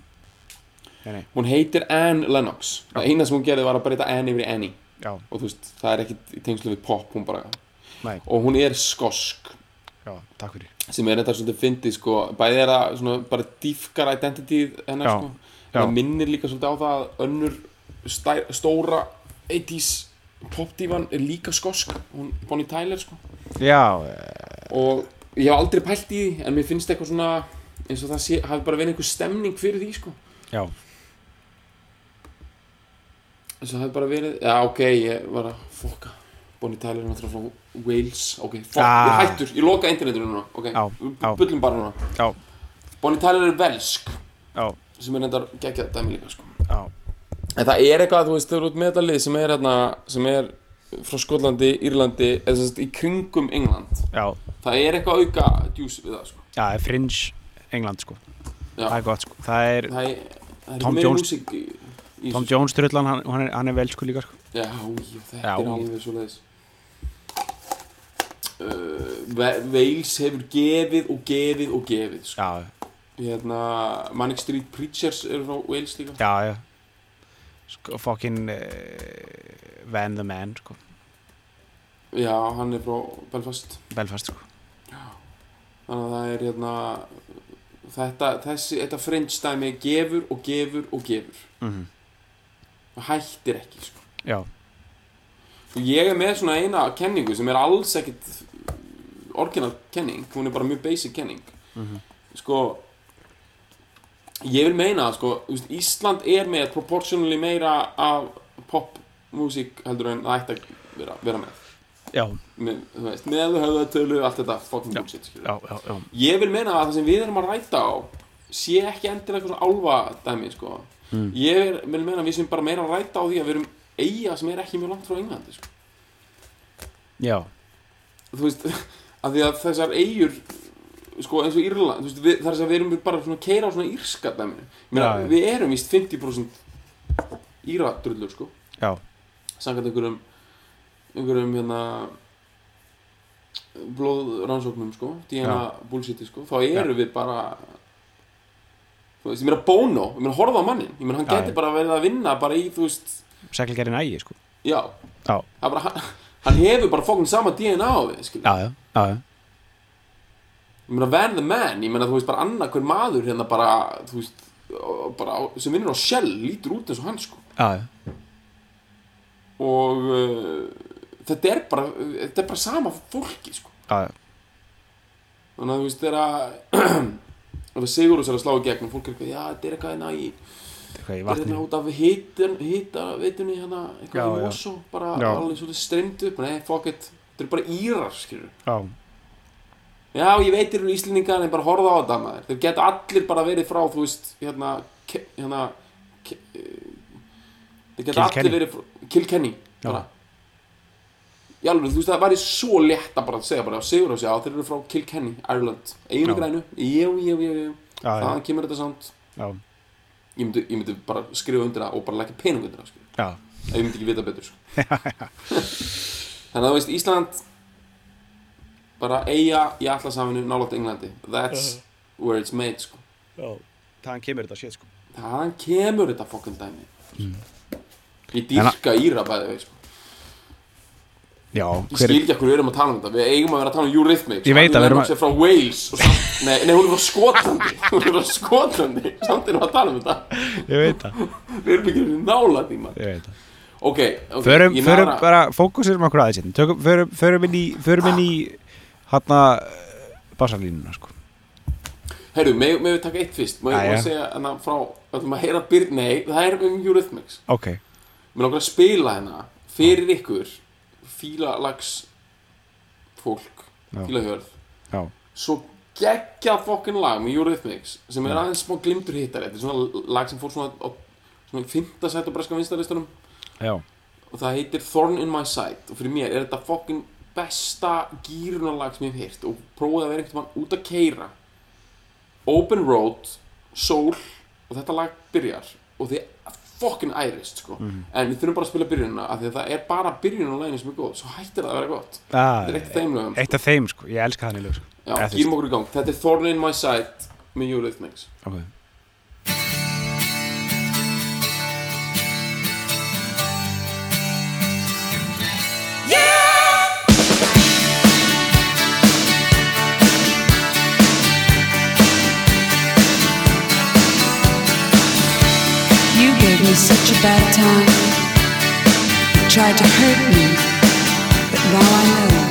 [SPEAKER 2] hún heitir Anne Lennox það eina sem hún gerði var að breyta Anne yfir í Annie
[SPEAKER 1] já,
[SPEAKER 2] og þú veist, það er ekki tengslu við pop hún bara,
[SPEAKER 1] nei,
[SPEAKER 2] og hún er skosk
[SPEAKER 1] já, takk fyrir
[SPEAKER 2] sem er þetta svolítið fyndið sko, bæði er það svona bara dýfkar identity hennar
[SPEAKER 1] Já,
[SPEAKER 2] sko,
[SPEAKER 1] já.
[SPEAKER 2] það minnir líka svolítið á það að önnur stær, stóra 80s popdívan er líka skosk, hún Bonnie Tyler sko
[SPEAKER 1] Já, eh,
[SPEAKER 2] og ég hef aldrei pælt í því en mér finnst eitthvað svona eins og það sé, hafi bara verið einhver stemning fyrir því sko
[SPEAKER 1] já,
[SPEAKER 2] eins og það hafi bara verið, já ok, ég var að fokka Bonnie Tyler er náttúrulega frá Wales ok, fokk, ég
[SPEAKER 1] Ah.
[SPEAKER 2] er hættur, ég loka internetinu núna ok,
[SPEAKER 1] Já, já.
[SPEAKER 2] bullum bara núna
[SPEAKER 1] já,
[SPEAKER 2] Bonnie Tyler er velsk
[SPEAKER 1] já,
[SPEAKER 2] sem er reyndar geggjað dæmi líka sko
[SPEAKER 1] já
[SPEAKER 2] en það er eitthvað, þú veist, þau eru út með þetta lið sem er hérna, sem er frá Skotlandi, Írlandi, eða sem sagt í kringum England,
[SPEAKER 1] já,
[SPEAKER 2] það er eitthvað auka djús við það sko
[SPEAKER 1] já, það er fringe England, sko,
[SPEAKER 2] Já.
[SPEAKER 1] það er gott, sko það er,
[SPEAKER 2] það er, það er
[SPEAKER 1] Tom
[SPEAKER 2] meira
[SPEAKER 1] Jones-
[SPEAKER 2] músík í, í
[SPEAKER 1] Tom
[SPEAKER 2] þessu,
[SPEAKER 1] Jones trullan, hann, hann, er, hann er velsku líka sko.
[SPEAKER 2] Já, já, þetta
[SPEAKER 1] Já.
[SPEAKER 2] er alveg svo leiðis uh, Wales hefur gefið og gefið og gefið sko.
[SPEAKER 1] Já,
[SPEAKER 2] hérna, Manic Street Preachers eru frá Wales líka
[SPEAKER 1] já, já sko, Fucking uh, Van the Man sko.
[SPEAKER 2] Já, hann er frá Belfast
[SPEAKER 1] Belfast sko.
[SPEAKER 2] Þannig að það er hérna Þetta, þessi, þetta fringe dæmi gefur og gefur og gefur
[SPEAKER 1] mm
[SPEAKER 2] Það hættir ekki sko.
[SPEAKER 1] Já,
[SPEAKER 2] Og ég er með svona eina kenningu sem er alls ekkit orginal kenning, hún er bara mjög basic kenning
[SPEAKER 1] Mhm.
[SPEAKER 2] sko ég vil meina að sko, þú veist, Ísland er með proportionally meira af popmúsík heldur en það ætti að vera, vera með
[SPEAKER 1] já,
[SPEAKER 2] með, þú veist, með höfðatölu, allt þetta fucking
[SPEAKER 1] Já.
[SPEAKER 2] bullshit skilur.
[SPEAKER 1] já, já, já.
[SPEAKER 2] ég vil meina að það sem við erum að ræta á sé ekki endilega eitthvað svona álfa dæmi sko.
[SPEAKER 1] Mm.
[SPEAKER 2] ég er, vil meina að við sem bara meira að ræta á því að við erum eiga sem er ekki mjög langt frá Englandi sko.
[SPEAKER 1] já.
[SPEAKER 2] þú veist, að því að þessar eigur sko eins og Írland þú veist, við, þar sem við erum bara svona að keira á svona írska dæminu, Ég meina,
[SPEAKER 1] Já, já.
[SPEAKER 2] við erum víst 50% íradrullur sko,
[SPEAKER 1] Já.
[SPEAKER 2] samkvæmt einhverjum einhverjum hérna blóðrannsóknum sko, DNA bullshiti sko, þá erum við bara þú veist, ég meina Bono ég meina horfa á mannin, ég meina hann
[SPEAKER 1] Já,
[SPEAKER 2] gæti
[SPEAKER 1] já.
[SPEAKER 2] bara verið að vinna bara í, þú veist,
[SPEAKER 1] Seglgerinn ægi sko.
[SPEAKER 2] já,
[SPEAKER 1] Já,
[SPEAKER 2] það er bara hann, hann hefur bara fokkun sama DNA á við, skilja
[SPEAKER 1] já, já, já, já.
[SPEAKER 2] ég meina Van the Man, ég meina þú veist bara annar hver maður hérna bara, þú veist bara, á- sem vinnur á Shell, lítur út eins og hann sko
[SPEAKER 1] já, já.
[SPEAKER 2] og uh, þetta er bara þetta er bara sama fólki sko
[SPEAKER 1] Já, já.
[SPEAKER 2] þannig að þú veist þegar að þegar Sigurus er að slá í gegn og fólk er eitthvað, já þetta er eitthvað hérna í
[SPEAKER 1] Þetta er Eitthvað í
[SPEAKER 2] þetta er
[SPEAKER 1] vatni
[SPEAKER 2] hérna út af hitan, hita veitunni hérna, eitthvað
[SPEAKER 1] Já,
[SPEAKER 2] í
[SPEAKER 1] já.
[SPEAKER 2] Mosó bara
[SPEAKER 1] Já.
[SPEAKER 2] alveg svolítið streymt upp, nei fuck it þetta eru bara írar, skilur
[SPEAKER 1] Já,
[SPEAKER 2] já, ég veit þeir eru íslendingar en bara horfa á þetta maður þeir geta allir bara verið frá, þú veist hérna, ke, hérna ke, eh, þeir geta
[SPEAKER 1] Kilkenny.
[SPEAKER 2] allir verið frá Kilkenny
[SPEAKER 1] Já.
[SPEAKER 2] bara já, alveg, þú veist, það væri svo létt að bara segja bara, sigur á sig, já, þeir eru frá Kilkenny Ireland, eiginu
[SPEAKER 1] Já.
[SPEAKER 2] grænu jú, jú, jú, jú,
[SPEAKER 1] já, já,
[SPEAKER 2] þaðan kemur þetta samt
[SPEAKER 1] já,
[SPEAKER 2] ég myndi, ég myndi bara skrifa undir það og bara leggja pening undir það, sko. skilur
[SPEAKER 1] já.
[SPEAKER 2] ef ég myndi ekki vita betur sko. þannig að þú veist Ísland bara eiga í allarsaminu nálátt Englandi that's where it's made sko.
[SPEAKER 1] Þaðan kemur þetta sétt sko.
[SPEAKER 2] þannig kemur þetta
[SPEAKER 1] Mm.
[SPEAKER 2] fokkund dæmi ég dýrka íra bæði vei, sko.
[SPEAKER 1] Já,
[SPEAKER 2] Ég
[SPEAKER 1] hver
[SPEAKER 2] skil ekki okkur við erum að tala um þetta, við eigum að vera að tala um Eurythmics
[SPEAKER 1] Ég veit að við erum
[SPEAKER 2] að frá Wales og samt, nei, nei, hún er frá Skotlandi Hún er frá Skotlandi, samt erum við að tala um þetta
[SPEAKER 1] Ég veit það,
[SPEAKER 2] Við erum ekki nála tíma
[SPEAKER 1] ég veit það
[SPEAKER 2] Ok, ok,
[SPEAKER 1] Förum,
[SPEAKER 2] ég
[SPEAKER 1] förum
[SPEAKER 2] nara-
[SPEAKER 1] bara, fókusirum okkur aðeins hérna. Tökum- Förum, förum inn í, förum inn í
[SPEAKER 2] Ah.
[SPEAKER 1] Hanna Basalínuna sko
[SPEAKER 2] Herru, með við taka eitt fyrst Má ég má
[SPEAKER 1] Jæja.
[SPEAKER 2] ég segja hana frá Það er að heyra byr... Nei, það er um Eurythmics
[SPEAKER 1] Ok,
[SPEAKER 2] Mér langar að spila hérna Fyrir ykkur Fílalags Fólk
[SPEAKER 1] Já.
[SPEAKER 2] Fílahjörð
[SPEAKER 1] já,
[SPEAKER 2] Svo geggja fokkin lag með Eurythmics Sem er aðeins smá glimtur hittar Þetta er svona lag sem fór svona á, Svona fymta sætt á breska vinstalistunum
[SPEAKER 1] já
[SPEAKER 2] Og það heitir Thorn in my side Og fyrir mér er þetta fokkin besta gýrunarlag sem ég hef heyrt Og prófaði að vera einhvern veginn út að keira Open Road Soul Og þetta lag byrjar Og þið fokkin ærist sko
[SPEAKER 1] Mhm.
[SPEAKER 2] En við þurfum bara að spila byrjunina af Því að það er bara byrjunum á laginu sem er góð Svo hættir það að vera gott
[SPEAKER 1] ah,
[SPEAKER 2] Þetta er eitt af þeim lögum
[SPEAKER 1] Eitt af þeim sko, ég elska þannig lög sko.
[SPEAKER 2] Já,
[SPEAKER 1] Eða þú
[SPEAKER 2] gýrum okkur í gang Þetta er Thorn in my side Með Eurythmics
[SPEAKER 1] veist, ok.
[SPEAKER 3] You gave me such a bad time. You tried to hurt me, but now I know.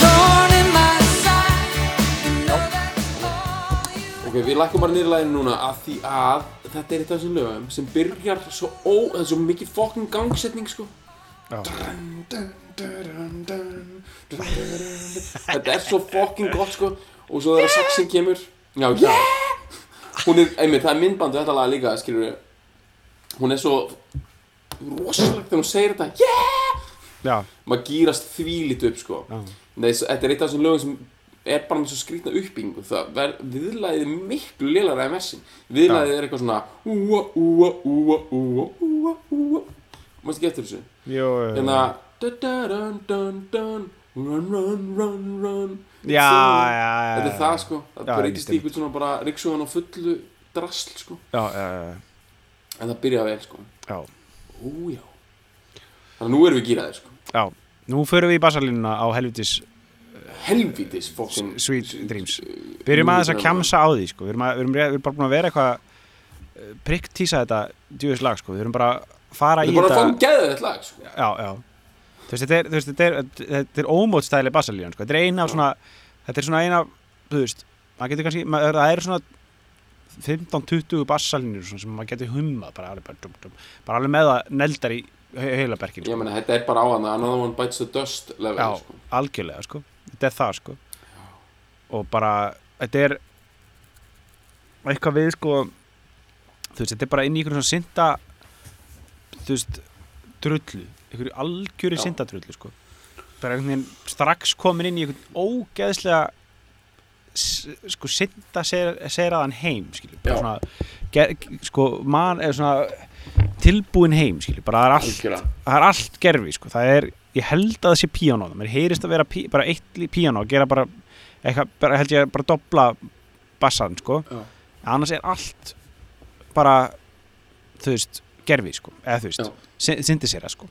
[SPEAKER 3] Thorn in my side, another thorn you
[SPEAKER 2] Ok, við lækum bara niður læginu núna að því að þetta er eitt af þessum lögum sem byrjar svo ó, það er svo mikið fokkin gangsetning sko
[SPEAKER 1] Já.
[SPEAKER 2] Dun, dun, dun, dun, dun, dun. Þetta er svo fokkin gott sko og svo þegar saxin kemur Já, já Hún er, einmitt, það er myndband við þetta lag líka, skilur við Hún er svo rosalegt þegar hún segir þetta Yeah!
[SPEAKER 1] Já,
[SPEAKER 2] Maður gýrast þvílít upp sko
[SPEAKER 1] já,
[SPEAKER 2] Nei, svo- þetta er eitt af þessum lögum sem er bara með svo skrýtna uppbyggingu það ver, viðlaðið er miklu lélara en versin viðlaðið er eitthvað svona úa, úa, úa, úa, úa, úa mást ekki eftir þessu
[SPEAKER 1] Jó, já,
[SPEAKER 2] en að da, da, dun, dun, dun, run, run, run, run
[SPEAKER 1] já, já,
[SPEAKER 2] þetta er það sko,
[SPEAKER 1] Já,
[SPEAKER 2] það breytist í
[SPEAKER 1] einmitt,
[SPEAKER 2] ykkur svona bara ryggsóðan á fullu drasl sko,
[SPEAKER 1] Já, já, já,
[SPEAKER 2] en það byrja vel sko
[SPEAKER 1] já,
[SPEAKER 2] ó já þannig að nú erum við gýraðir sko
[SPEAKER 1] já Nú förum við í basalínuna á helvitis
[SPEAKER 2] helvítis fokkin
[SPEAKER 1] Sweet Dreams Við erum aðeins að kjamsa á því sko. við, erum að, við, erum, við erum bara búin að vera eitthvað prikk tísa þetta djúðis lag sko. Við erum bara að fara
[SPEAKER 2] þetta
[SPEAKER 1] í
[SPEAKER 2] er bara að
[SPEAKER 1] þetta
[SPEAKER 2] fokkin geða þetta lag sko
[SPEAKER 1] já, já. Þú veist, þetta er, þú veist, þetta er, þetta er ómótstæðileg basalíun sko. Þetta er eina af svona Þetta er svona eina, þú veist maður getur kannski, maður, það eru svona 15-20 bassalínur svona sem maður getur humma bara alveg, bara, dum, dum, bara alveg með það neldar í heilaberkinu
[SPEAKER 2] Ég
[SPEAKER 1] sko.
[SPEAKER 2] meina, þetta er bara á hana, another one bites the dust level,
[SPEAKER 1] Já,
[SPEAKER 2] sko.
[SPEAKER 1] algjörlega sko Þetta er það sko Og bara, þetta er eitthvað við sko Þú veist, þetta er bara inn í einhverjum svona synda Þú veist, drullu Einhverju algjöri
[SPEAKER 2] Já.
[SPEAKER 1] synda drullu sko Bara einhvern veginn strax komin inn í einhvern ógeðslega s- sko synda ser, seraðan heim skilju, bara
[SPEAKER 2] Já.
[SPEAKER 1] svona ger, sko man, eða svona tilbúin heim skilju, bara það er allt
[SPEAKER 2] Algjörlega.
[SPEAKER 1] það er allt gerfi sko. það er, ég held að það sé píanó mér heyrist að vera pí, bara eitt lí- píanó gera bara, eitthvað, bara held ég bara dobla bassan sko.
[SPEAKER 2] Já.
[SPEAKER 1] annars er allt bara þú veist, gerfi sko. eða þú
[SPEAKER 2] Já.
[SPEAKER 1] veist, syndisera sko.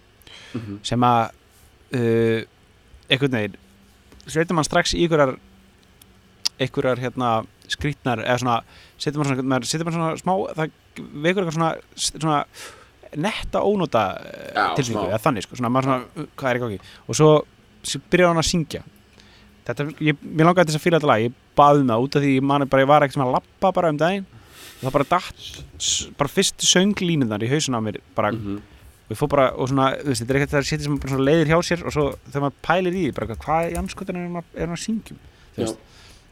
[SPEAKER 2] Mhm.
[SPEAKER 1] sem að uh, einhvern veginn sveitum mann strax í einhverjar einhverjar hérna skrýtnar eða svona, setur mann svona, maður setur mann svona smá, það vekur eitthvað svona, svona netta ónóta
[SPEAKER 2] Já,
[SPEAKER 1] tilfinningu,
[SPEAKER 2] smá.
[SPEAKER 1] eða þannig sko, svona maður svona, uh, hvað er í gangi og svo s- byrjar hann að syngja þetta, ég, mér langaði til þess að fýla þetta lag ég baði um það út af því ég mani bara, ég var ekkert sem að lappa bara um daginn og það bara datt, s- bara fyrstu sönglínunar í hausuna á mér, bara
[SPEAKER 2] Mhm.
[SPEAKER 1] og ég fór bara, og svona, þú veist, þetta er ekkert það setja sem bara svona leiðir hjá sér og svo þegar maður pælir í því, bara eitthvað, hvað í anskotan er maður er maður að syngjum, þú
[SPEAKER 2] Já,
[SPEAKER 1] veist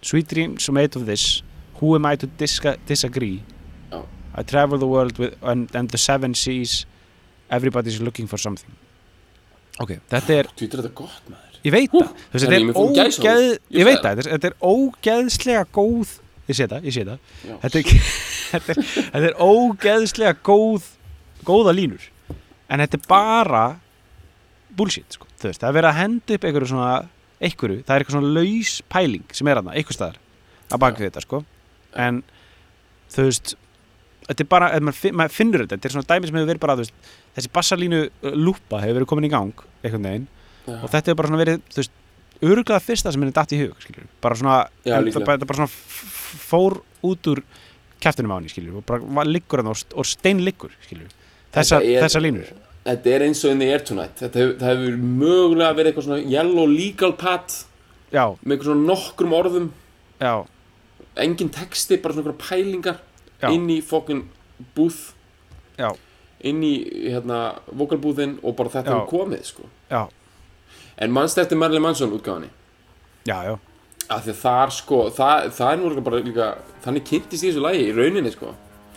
[SPEAKER 1] Sweet dreams are made of this Who am I to disca- disagree
[SPEAKER 2] Já.
[SPEAKER 1] I travel the world with, and, and the seven seas Everybody's looking for something Ok, þetta er,
[SPEAKER 2] Tvítur þetta gott, maður.
[SPEAKER 1] ég veit það Þú veist,
[SPEAKER 2] Herri, ég mér fór
[SPEAKER 1] þetta er
[SPEAKER 2] gæsahúð.
[SPEAKER 1] ógeð
[SPEAKER 2] Ég
[SPEAKER 1] Ég veit
[SPEAKER 2] sagði
[SPEAKER 1] það, þetta er- þetta er ógeðslega góð Ég sé það, ég sé það
[SPEAKER 2] Já.
[SPEAKER 1] þetta er, þetta, er, þetta er ógeðslega góð góða línur en þetta er bara bullshit sko. Þú veist, það er verið að henda upp einhverju svona einhverju, það er eitthvað svona laus pæling sem er aðna, einhver staðar að baka við þetta sko en þú veist þetta er bara, ef maður, fi- maður finnur þetta þetta er svona dæmi sem hefur verið bara, þú veist þessi bassalínu lúpa hefur verið komin í gang einhvern veginn og þetta hefur bara svona verið þú veist, öruglega fyrsta sem henni datt í hug skilur, bara svona,
[SPEAKER 2] Já,
[SPEAKER 1] en
[SPEAKER 2] líklega.
[SPEAKER 1] það bara, þetta bara svona f- f- fór út úr kæftinum á henni, skilur, og bara var, liggur hann og, st- og stein liggur, skilur þessa,
[SPEAKER 2] Þetta er-
[SPEAKER 1] þessa línur
[SPEAKER 2] Þetta er eins og in the air tonight Þetta hefur, það hefur mögulega verið eitthvað svona yellow legal pad
[SPEAKER 1] já,
[SPEAKER 2] með eitthvað svona nokkrum orðum
[SPEAKER 1] já,
[SPEAKER 2] engin texti, bara svona einhverja pælingar
[SPEAKER 1] já,
[SPEAKER 2] inn í fokkin búð
[SPEAKER 1] Já.
[SPEAKER 2] inn í hérna vokalbúðin og bara þetta
[SPEAKER 1] Já.
[SPEAKER 2] hefur komið sko.
[SPEAKER 1] já,
[SPEAKER 2] en mannst eftir Marilyn Manson útgáðanni
[SPEAKER 1] já, já
[SPEAKER 2] af því að þar sko það, það er nú líka bara líka þannig kynntist ég þessu lagi í rauninni sko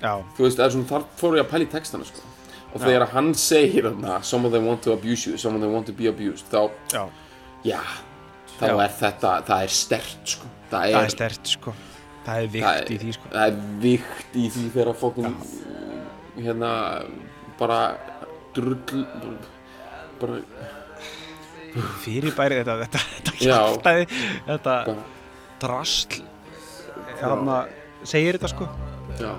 [SPEAKER 1] já,
[SPEAKER 2] þú veist, eða svona þar fór ég að pæla í textana sko og þegar hann segir þarna some of them want to abuse you, some of them want to be abused þá,
[SPEAKER 1] já,
[SPEAKER 2] já þá
[SPEAKER 1] Já.
[SPEAKER 2] er þetta, það er stert sko það
[SPEAKER 1] það er
[SPEAKER 2] er,
[SPEAKER 1] stert, sko það er
[SPEAKER 2] það
[SPEAKER 1] vikt
[SPEAKER 2] er-
[SPEAKER 1] í því, sko
[SPEAKER 2] það er vikt í því þegar fokkin hérna bara drull bara,
[SPEAKER 1] fyrirbæri þetta, þetta, þetta
[SPEAKER 2] Já.
[SPEAKER 1] kjartaði þetta
[SPEAKER 2] Bara-
[SPEAKER 1] drasl þannig að segir þetta, sko
[SPEAKER 2] já,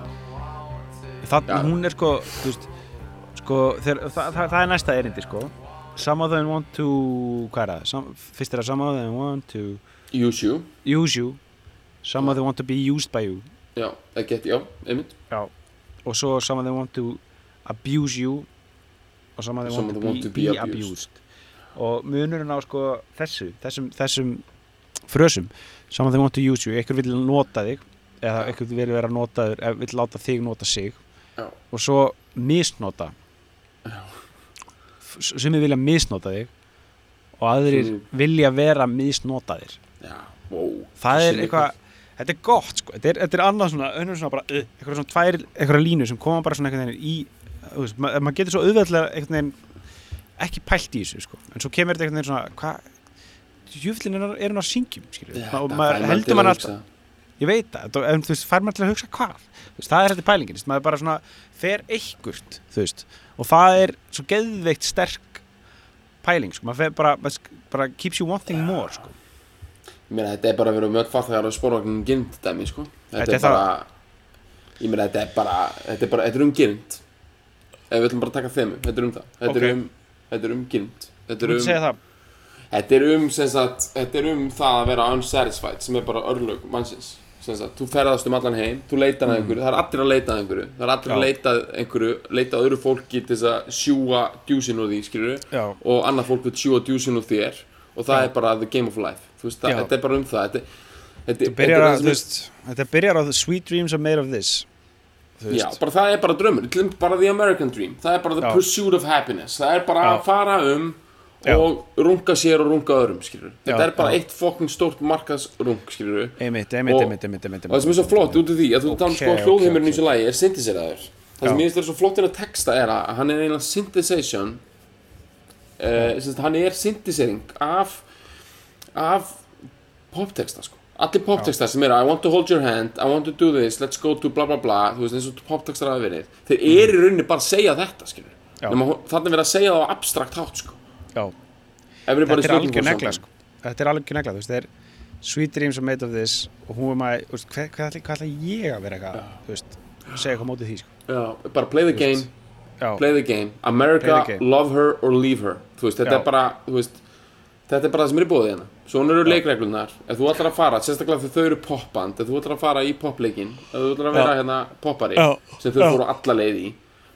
[SPEAKER 1] þannig
[SPEAKER 2] Já.
[SPEAKER 1] hún er sko, þú veist, sko þeir, það, það, það er næsta erindi sko Some of them want to, hvað er það? Some, fyrst er það some of them want to
[SPEAKER 2] use you
[SPEAKER 1] use you Some of them want to be used by you
[SPEAKER 2] já, eða get, já, einmitt
[SPEAKER 1] Já. og svo some of them want to abuse you og some of them, want, to be, be abused. og munurinn á sko þessu, þessum, þessum frösum some of them want to use you, einhver vil nota þig eða
[SPEAKER 2] Já.
[SPEAKER 1] einhver vil vera notaður eða vil láta þig nota sig
[SPEAKER 2] já,
[SPEAKER 1] og svo misnota sem vilja misnota þig og aðrir
[SPEAKER 2] Sumir-
[SPEAKER 1] vilja vera misnotaðir
[SPEAKER 2] já, wow
[SPEAKER 1] það
[SPEAKER 2] Þessi
[SPEAKER 1] er eitthvað þetta er gott sko, þetta er, þetta er annað svona önnur svona bara, uh, eitthvað svona tvær, eitthvað línu sem koma bara svona einhvern veginn í þú veist, ma maður getur svo auðveldlega einhvern veginn ekki pælt í þessu sko, en svo kemur þetta einhvern veginn svona, hvað djúflin er, er hún að syngjum, skilju
[SPEAKER 2] Þetta
[SPEAKER 1] og
[SPEAKER 2] fær
[SPEAKER 1] maður
[SPEAKER 2] mann til
[SPEAKER 1] heldur maður
[SPEAKER 2] að
[SPEAKER 1] alltaf
[SPEAKER 2] hugsa.
[SPEAKER 1] ég veit það, þetta- en þú veist, fær maður til að hugsa hvað þú veist, það er þetta pælingin, þú veist, maður bara svona fer eikkurt, þú veist og það er svo geðveikt sterk pæling, sko, maður fer bara, maður sk- bara keeps you wanting more, sko
[SPEAKER 2] Ég meina þetta er bara að vera mjög farþegar á spórvagnum gynd dæmi sko Þetta,
[SPEAKER 1] Þetta er
[SPEAKER 2] er bara Ég meina þetta er bara Þetta er, bara, þetta er um gynd Ef við ætlum bara að taka þemu, þetta er um það Þetta
[SPEAKER 1] Ok.
[SPEAKER 2] er um, þetta er um gynd Þetta
[SPEAKER 1] þú
[SPEAKER 2] er
[SPEAKER 1] veit segja
[SPEAKER 2] um,
[SPEAKER 1] það,
[SPEAKER 2] þetta er um, sem sagt, þetta er um það að vera unsatisfied sem er bara örlög mannsins sem sagt, þú ferðast um allan heim, þú leitar að einhverju það er allir að leita að einhverju það er allir
[SPEAKER 1] Mm. Já.
[SPEAKER 2] að leita að einhverju, leita að öðru fólki til þess að sjúga djúsin úr því, skilur
[SPEAKER 1] Já.
[SPEAKER 2] og annað fólk vil sjúga djúsin úr þér og það er bara the game of life þú veist, það,
[SPEAKER 1] Já.
[SPEAKER 2] þetta er bara um það þetta, þetta,
[SPEAKER 1] þú byrjar
[SPEAKER 2] þetta er
[SPEAKER 1] að,
[SPEAKER 2] það
[SPEAKER 1] þú
[SPEAKER 2] sem-
[SPEAKER 1] veist þetta byrjar á the sweet dreams are made of this þú
[SPEAKER 2] Já, bara það er bara draumur, Til dæmis bara the American dream Það er bara the
[SPEAKER 1] Já.
[SPEAKER 2] pursuit of happiness Það er bara
[SPEAKER 1] Já.
[SPEAKER 2] að fara um
[SPEAKER 1] Já.
[SPEAKER 2] og runga sér og runga öðrum skilur. Þetta
[SPEAKER 1] Já,
[SPEAKER 2] er bara
[SPEAKER 1] já.
[SPEAKER 2] eitt fokkin stórt markaðsrung skilur.
[SPEAKER 1] einmitt, einmitt,
[SPEAKER 2] Og-
[SPEAKER 1] einmitt, einmitt, einmitt,
[SPEAKER 2] Og það sem er svo flott út af því að þú okay,
[SPEAKER 1] Ok,
[SPEAKER 2] talar sko
[SPEAKER 1] ok,
[SPEAKER 2] hljóðheimurinn
[SPEAKER 1] ok.
[SPEAKER 2] í þessu lagi er synthesizer Það
[SPEAKER 1] Já.
[SPEAKER 2] sem ég finnst er svo flott inn að texta er að hann er eiginlega synthesation uh, sem hann er synthesering af af poptexta sko Allir poptexta sem eru I want to hold your hand, I want to do this, let's go to bla bla bla Þú veist eins og poptextar hafa verið Þeir eru í rauninni bara að segja þetta skilur
[SPEAKER 1] Mhm. Já.
[SPEAKER 2] Nefna, Þannig verið að segja það á abstrakt hátt sko
[SPEAKER 1] Já,
[SPEAKER 2] Everybody's
[SPEAKER 1] þetta er
[SPEAKER 2] looking for
[SPEAKER 1] algjör negla
[SPEAKER 2] something.
[SPEAKER 1] sko. þetta er algjör negla, þú veist, það er sweet dreams are made of this og hún er maður, þú veist, hvað, hvað, ætli- hvað ætla ég að vera eitthvað, þú veist, segja eitthvað á móti því sko.
[SPEAKER 2] Já, bara play the game
[SPEAKER 1] Já,
[SPEAKER 2] play the game, America,
[SPEAKER 1] Play the game.
[SPEAKER 2] love her or leave her þú veist, þetta
[SPEAKER 1] Já.
[SPEAKER 2] er bara þú veist, þetta er bara það sem er í bóði hérna svona eru leikreglunar, ef þú ætlar að fara sérstaklega þegar þau eru popband, ef þú ætlar að fara í popleikin, ef þú ætlar að vera hérna poppari,
[SPEAKER 1] Já.
[SPEAKER 2] sem þau
[SPEAKER 1] Já.
[SPEAKER 2] fóru alla leið í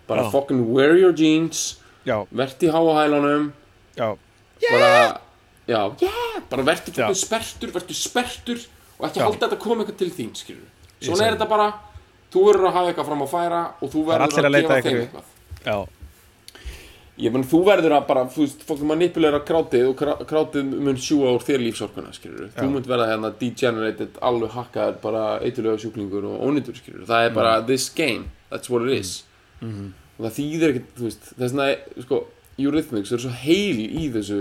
[SPEAKER 2] bara fucking wear your jeans
[SPEAKER 1] já,
[SPEAKER 2] vert í háahælunum
[SPEAKER 1] já,
[SPEAKER 2] bara, já, yeah. bara vertu
[SPEAKER 1] Já.
[SPEAKER 2] fucking sperrtur, vertu sperrtur og ekki
[SPEAKER 1] Já.
[SPEAKER 2] halda þetta koma eitthvað til þín, skilur
[SPEAKER 1] Ég
[SPEAKER 2] svona
[SPEAKER 1] segi
[SPEAKER 2] er þetta bara, þú verður að hafa eitthvað fram að færa og þú
[SPEAKER 1] er allir
[SPEAKER 2] verður
[SPEAKER 1] að
[SPEAKER 2] að,
[SPEAKER 1] leita
[SPEAKER 2] gefa
[SPEAKER 1] einhverju.
[SPEAKER 2] þeim eitthvað
[SPEAKER 1] já,
[SPEAKER 2] Ég menn, þú verður að bara, þú veist, fólk manipulera krátið og krá- krátið mun sjúa úr þér lífsorkuna, skilur Þú munt verða hérna degenerated, alveg hakkaður, bara eitulega sjúklingur og ónýtur, skilur Það er bara this game, that's what it is Og það þýðir ekkert, þú veist, þess vegna, sko, Eurythmics eru svo heil í þessu,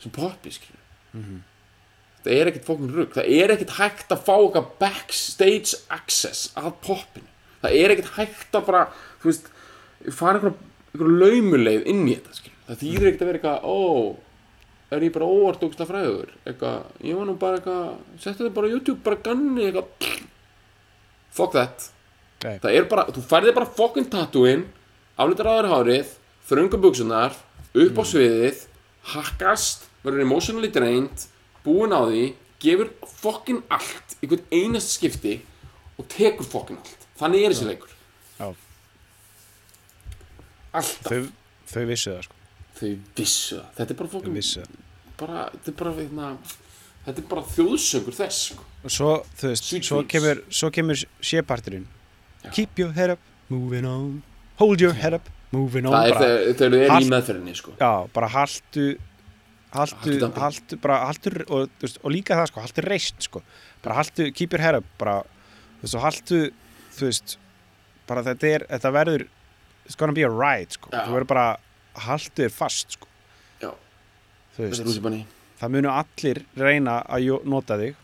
[SPEAKER 2] þessu poppi, skilur Það er ekkert fólkin rugg, það er ekkert hægt að fá okkar backstage access að poppinu Það er ekkert hægt að bara, þú veist, fara einhverja einhver laumuleið inn í þetta skilur. það þýðir ekkert að vera eitthvað ó, er ég bara óortóksta fræður eitthvað, ég var nú bara eitthvað settu þetta bara á YouTube, bara ganni eitthvað fuck that
[SPEAKER 1] Nei.
[SPEAKER 2] það er bara, þú færði bara fucking tattooinn aflítar aður hárið þröngu buksunar, upp á
[SPEAKER 1] Mm.
[SPEAKER 2] sviðið hakkast, verður emotionally drained, búin á því gefur fucking allt í hvern einast skipti og tekur fucking allt, þannig er þessi leikur
[SPEAKER 1] Já.
[SPEAKER 2] alltaf,
[SPEAKER 1] þau, þau vissu það sko
[SPEAKER 2] þau vissu það þetta er bara
[SPEAKER 1] þau
[SPEAKER 2] fucking
[SPEAKER 1] vissu það
[SPEAKER 2] bara, þetta er bara veitna, þetta er bara þjóðsöngur þess sko.
[SPEAKER 1] og svo, þú veist,
[SPEAKER 2] Sweet
[SPEAKER 1] svo
[SPEAKER 2] dreams.
[SPEAKER 1] kemur, svo kemur séparturinn keep your head up, moving on hold your head up, moving on
[SPEAKER 2] það er
[SPEAKER 1] bara,
[SPEAKER 2] þegar- þegar þau eru
[SPEAKER 1] Allt-
[SPEAKER 2] í meðferðinni sko.
[SPEAKER 1] já, bara haltu haltu,
[SPEAKER 2] Haltu dampi.
[SPEAKER 1] haltu, bara haltu og, þú veist, og líka það sko, haltu reist sko bara haltu, keep your head up bara, þú veist, og haltu, þú veist bara þetta er, þetta verður it's gonna be a ride sko,
[SPEAKER 2] Já.
[SPEAKER 1] þú verður bara haltu þér fast sko
[SPEAKER 2] Já.
[SPEAKER 1] þú
[SPEAKER 2] Þetta
[SPEAKER 1] veist,
[SPEAKER 2] er rússipanni.
[SPEAKER 1] það munu allir reyna að jó- nota þig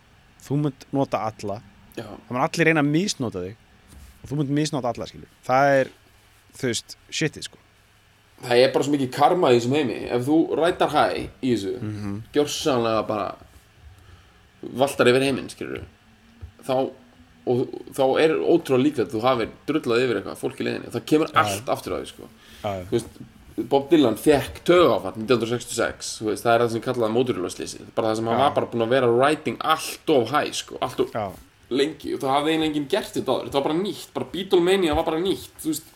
[SPEAKER 1] þú munt nota alla
[SPEAKER 2] Já.
[SPEAKER 1] það mun allir reyna að misnota þig og þú munt misnota alla skilur það er, þú veist, shitið sko
[SPEAKER 2] það er bara svo mikið karma í þessum heimi ef þú rætar hæ í þessu mm
[SPEAKER 1] Mhm.
[SPEAKER 2] -hmm. gjörsanlega bara valtar yfir heiminn skilur þá, og, þá er ótrúlega líklegt að þú hafir drullað yfir eitthvað fólk í leiðinni það kemur allt aftur á því sko.
[SPEAKER 1] Já, já.
[SPEAKER 2] Þú veist, Bob Dylan fekk tögáfall 1966, þú veist, það er það sem kallaði móturlösleysi, bara það sem hann var bara búin að vera writing allt of high sko, allt of
[SPEAKER 1] já,
[SPEAKER 2] lengi og það hafði eiginlega enginn gert þetta áður þetta var bara nýtt, bara Beatlemania var bara nýtt þú veist,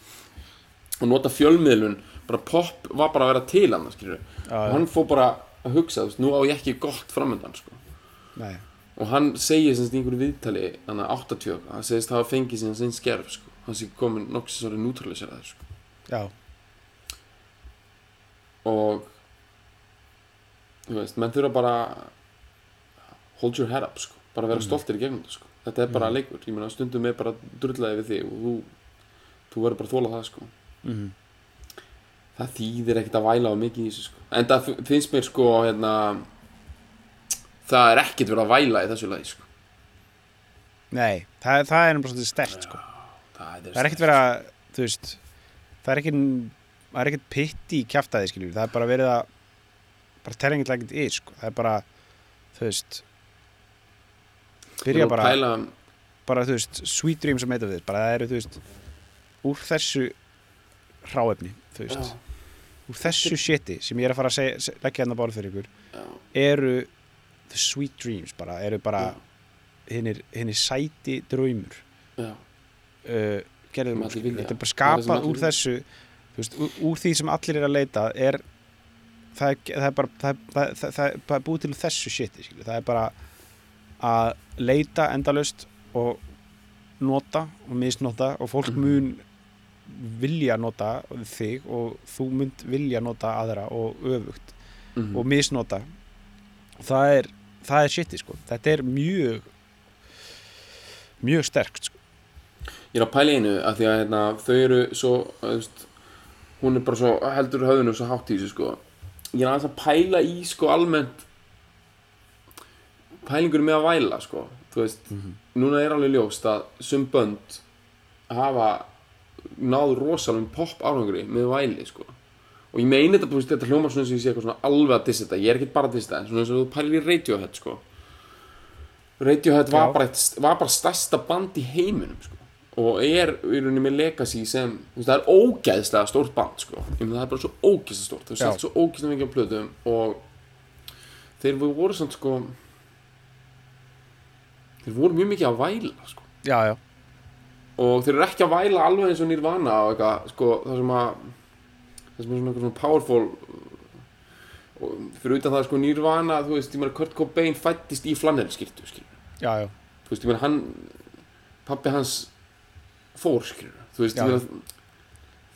[SPEAKER 2] og nota fjölmiðlun bara pop var bara að vera til hann skilur, og hann fór bara að hugsa þú veist, nú á ég ekki gott framöndan sko.
[SPEAKER 1] nei,
[SPEAKER 2] og hann segir semst í einhverju viðtali hann að 80, og eitthvað, hann segist hafa fengið sinna sinn skerf, sko, hann sé komin nokksins orðið neutraliseraður, sko,
[SPEAKER 1] já,
[SPEAKER 2] og þú veist, menn þurfa bara hold your head up, sko bara
[SPEAKER 1] Mhm.
[SPEAKER 2] vera stoltir í gegnum þetta, sko þetta er bara leikur, ég meina stundum er bara drullaði við þig og þú, þú verður bara að þóla það, sko
[SPEAKER 1] mhm,
[SPEAKER 2] það þýðir ekkert að væla á mikið í þessu sko. en það finnst mér sko hérna, það er ekkert verið að væla í þessu lagi sko.
[SPEAKER 1] nei það, það er bara svolítið stert sko
[SPEAKER 2] það
[SPEAKER 1] það er ekkert verið að, þú veist það er ekkert það er ekkert pitti í kjaftaði skilur það er bara verið að bara telling it like it is sko. það er bara, þú veist byrja bara
[SPEAKER 2] pæla,
[SPEAKER 1] bara, þú veist, sweet dreams sem heitir við bara það eru, þú veist, úr þessu hráefni, þú veist
[SPEAKER 2] já,
[SPEAKER 1] úr þessu shiti sem ég er að fara að segja, se- leggja hérna bára fyrir ykkur
[SPEAKER 2] já,
[SPEAKER 1] eru the sweet dreams bara, eru bara hinnir, hinnir sæti draumur
[SPEAKER 2] já,
[SPEAKER 1] uh, gerðum
[SPEAKER 2] Sem allir vilja.
[SPEAKER 1] þetta er bara
[SPEAKER 2] Það er sem
[SPEAKER 1] skapað
[SPEAKER 2] allir
[SPEAKER 1] úr þessu þú veist, úr, úr því sem allir er að leita er það er, það er bara það, er- það, það, það er bara búið til úr þessu shiti skilur. það er bara að leita endalaust og nota og misnota og fólk
[SPEAKER 2] Mhm.
[SPEAKER 1] mun vilja nota þig og þú munt vilja nota aðra og öfugt
[SPEAKER 2] mhm.
[SPEAKER 1] og misnota það er, það er shiti sko þetta er mjög mjög sterkt sko
[SPEAKER 2] ég er að pæla í einu að því að hérna, þau eru svo þú veist, hún er bara svo heldur höfðunum svo hátt í þessu sko ég er aðeins að pæla í sko almennt pælingur með að væla sko þú veist, núna er alveg ljóst að sum bönd hafa náð rosalum pop árangri með væli sko og ég meina þetta, þú veist, þetta hljómar svona eins og ég sé eitthvað svona alveg að dissa þetta, ég er ekkert bara að dissa þetta en svona eins og þú pælir í Radiohead sko Radiohead var
[SPEAKER 1] Já.
[SPEAKER 2] bara, eitt, var bara stærsta band í heiminum sko. og er í rauninni með legacy sem þú veist, það er ógeðslega stórt band sko. Ég meina, það er bara svo ógeðslega stórt það er
[SPEAKER 1] Já.
[SPEAKER 2] selt svo ógeðslega mikið á plötum og þeir voru svona sko, þeir voru mjög mikið að væla sko
[SPEAKER 1] já, já,
[SPEAKER 2] og þeir eru ekki að væla alveg eins og Nirvana og eitthvað, sko, það sem að það sem er svona eitthvað svona powerful uh, og fyrir utan það, sko, Nirvana, þú veist, ég meina Kurt Cobain fættist í flanellskirtu, skilur
[SPEAKER 1] já, já.
[SPEAKER 2] þú veist, ég meina hann pappi hans fór, skilur þú veist,
[SPEAKER 1] Já.
[SPEAKER 2] ég meina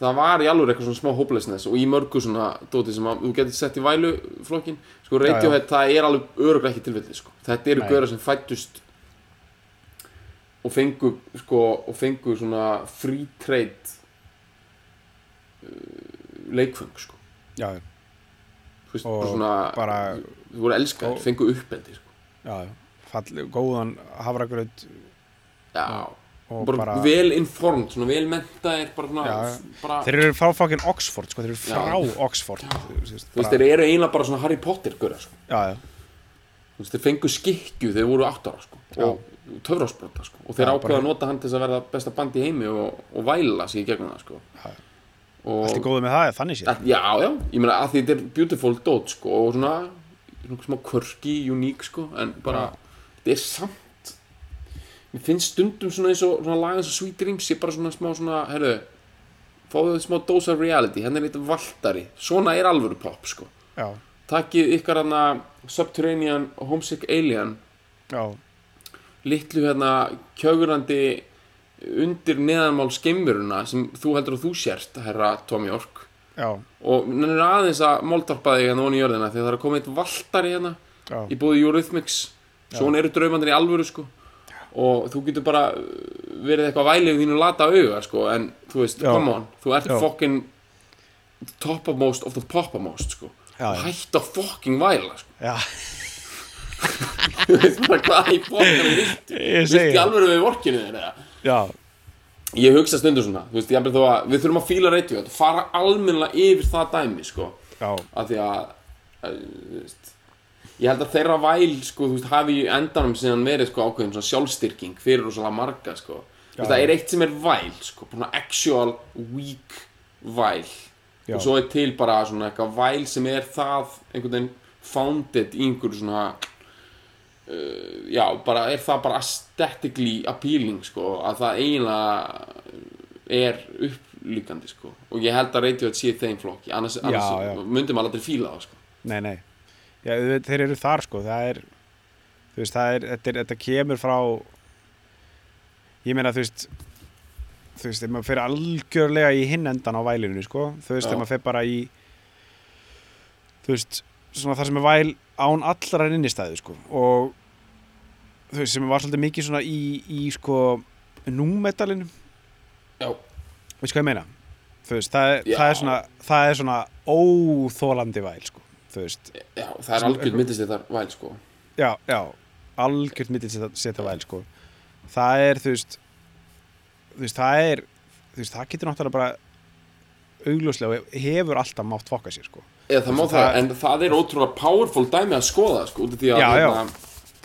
[SPEAKER 2] það var í alveg eitthvað svona smá hopelessness og í mörgu svona dóti sem að þú getur sett í væluflokkin,
[SPEAKER 1] Já,
[SPEAKER 2] sko,
[SPEAKER 1] já.
[SPEAKER 2] Radiohead, það er alveg öruglega ekki tilfellið, sko, þetta eru
[SPEAKER 1] Nei.
[SPEAKER 2] gaurar sem fættust og fengu sko, og fengu svona free trade uh, leikfeng sko.
[SPEAKER 1] já, já.
[SPEAKER 2] Þú veist,
[SPEAKER 1] Og
[SPEAKER 2] bara svona,
[SPEAKER 1] bara-
[SPEAKER 2] þú voru elskar,
[SPEAKER 1] og-
[SPEAKER 2] fengu uppeldi sko.
[SPEAKER 1] já, já. Fall, góðan hafragröð
[SPEAKER 2] já,
[SPEAKER 1] og
[SPEAKER 2] bara,
[SPEAKER 1] bara,
[SPEAKER 2] vel informed, svona vel mentaðir bara, svona,
[SPEAKER 1] Já, já.
[SPEAKER 2] bara
[SPEAKER 1] þeir eru frá fokkin Oxford sko, þeir eru
[SPEAKER 2] Já.
[SPEAKER 1] frá Oxford þú veist,
[SPEAKER 2] þú veist, þeir eru eiginlega bara svona Harry Potter gura, sko.
[SPEAKER 1] já, já,
[SPEAKER 2] þú veist, þeir fengu skikju þegar þeir voru 8 ára sko, og töfrasbrota sko, og þeir
[SPEAKER 1] Já,
[SPEAKER 2] ákveða
[SPEAKER 1] bara-
[SPEAKER 2] að nota hann til þess að verða besta band í heimi og, og væla sig í gegnum það sko. og,
[SPEAKER 1] allt er góð með það þannig séð,
[SPEAKER 2] að, já, já, ég meina að því þetta er beautiful dot sko, og svona, svona smá quirky, uník sko, en bara, þetta er samt mér finnst stundum svona eins og svona lag eins og Sweet Dreams sé bara svona smá svona, herru fáðu þið smá dose of reality, hérna er eitthvað valtari svona er alvöru pop sko
[SPEAKER 1] já,
[SPEAKER 2] takkið ykkar hana Subterranean Homesick Alien
[SPEAKER 1] já
[SPEAKER 2] litlu hérna kjögrandi undir neðanmál skemmuruna sem þú heldur að þú sért, herra Tom York
[SPEAKER 1] já,
[SPEAKER 2] og nennir aðeins að máldarpa þig hérna onni í jörðina því það er að koma eitt valtari hérna
[SPEAKER 1] já,
[SPEAKER 2] í búið Eurythmics svona eru draumandir í alvöru sko og þú getur bara uh, verið eitthvað vælið þínu lata auga sko en þú veist,
[SPEAKER 1] Já.
[SPEAKER 2] come on, þú ert
[SPEAKER 1] Já.
[SPEAKER 2] fucking toppermost of the poppermost sko
[SPEAKER 1] Já, já.
[SPEAKER 2] hætt að fucking væla sko
[SPEAKER 1] já
[SPEAKER 2] Þú veist bara hvað í fokkanum viltu
[SPEAKER 1] ég
[SPEAKER 2] Viltu
[SPEAKER 1] segi
[SPEAKER 2] í
[SPEAKER 1] það,
[SPEAKER 2] alvöru við vorkinu þér eða
[SPEAKER 1] já,
[SPEAKER 2] Ég hugsa stundum svona, þú veist, ég hefði þó að við þurfum að fíla reytið og fara almennilega yfir það dæmi, sko
[SPEAKER 1] já,
[SPEAKER 2] af því að, að þú veist, ég held að þeirra væl, sko, þú veist, hafi í endanum síðan verið, sko, ákveðin svona sjálfstyrking fyrir rosalega marga, sko Þú
[SPEAKER 1] Já.
[SPEAKER 2] veist, það er eitt sem er væl, sko, bara svona actual weak væl
[SPEAKER 1] Já.
[SPEAKER 2] og svo er til bara svona eitthvað væl sem er það einhvern veginn founded í einhverju svona eh, já, bara er það bara aesthetically appealing, sko, að það eiginlega er upplíkandi, sko, og ég held að Radiohead sé í þeim flokki, annars,
[SPEAKER 1] Já,
[SPEAKER 2] annars
[SPEAKER 1] já.
[SPEAKER 2] myndum maður aldrei fíla það, sko.
[SPEAKER 1] nei, nei já, þú veit, þeir eru þar sko, það er þú veist, það er, þetta, er, þetta kemur frá ég meina, þú veist þú veist, ef maður fer algjörlega í hinn endan á vælinu, sko þú veist, ef
[SPEAKER 2] Já.
[SPEAKER 1] maður fer bara í þú veist, svona það sem er væl án allra innistæðu, sko og þú veist, sem var svolítið mikið svona í, í sko númetalinu,
[SPEAKER 2] Já,
[SPEAKER 1] veist hvað ég meina þú veist, það er,
[SPEAKER 2] Já.
[SPEAKER 1] það er svona það er svona óþólandi væl, sko þú veist,
[SPEAKER 2] já, það er
[SPEAKER 1] Sem-
[SPEAKER 2] algjörn myndist þetta væl, sko.
[SPEAKER 1] já, já, algjört mitt setja væl sko það er þú veist þú veist það er þú veist það getur náttúrulega bara augljóslega og hefur alltaf mátt fokka sér sko
[SPEAKER 2] Eða það má
[SPEAKER 1] Sem
[SPEAKER 2] það,
[SPEAKER 1] það-
[SPEAKER 2] en það er ótrúlega powerful dæmi að skoða, sko, út af því að,
[SPEAKER 1] Já, já.
[SPEAKER 2] hérna,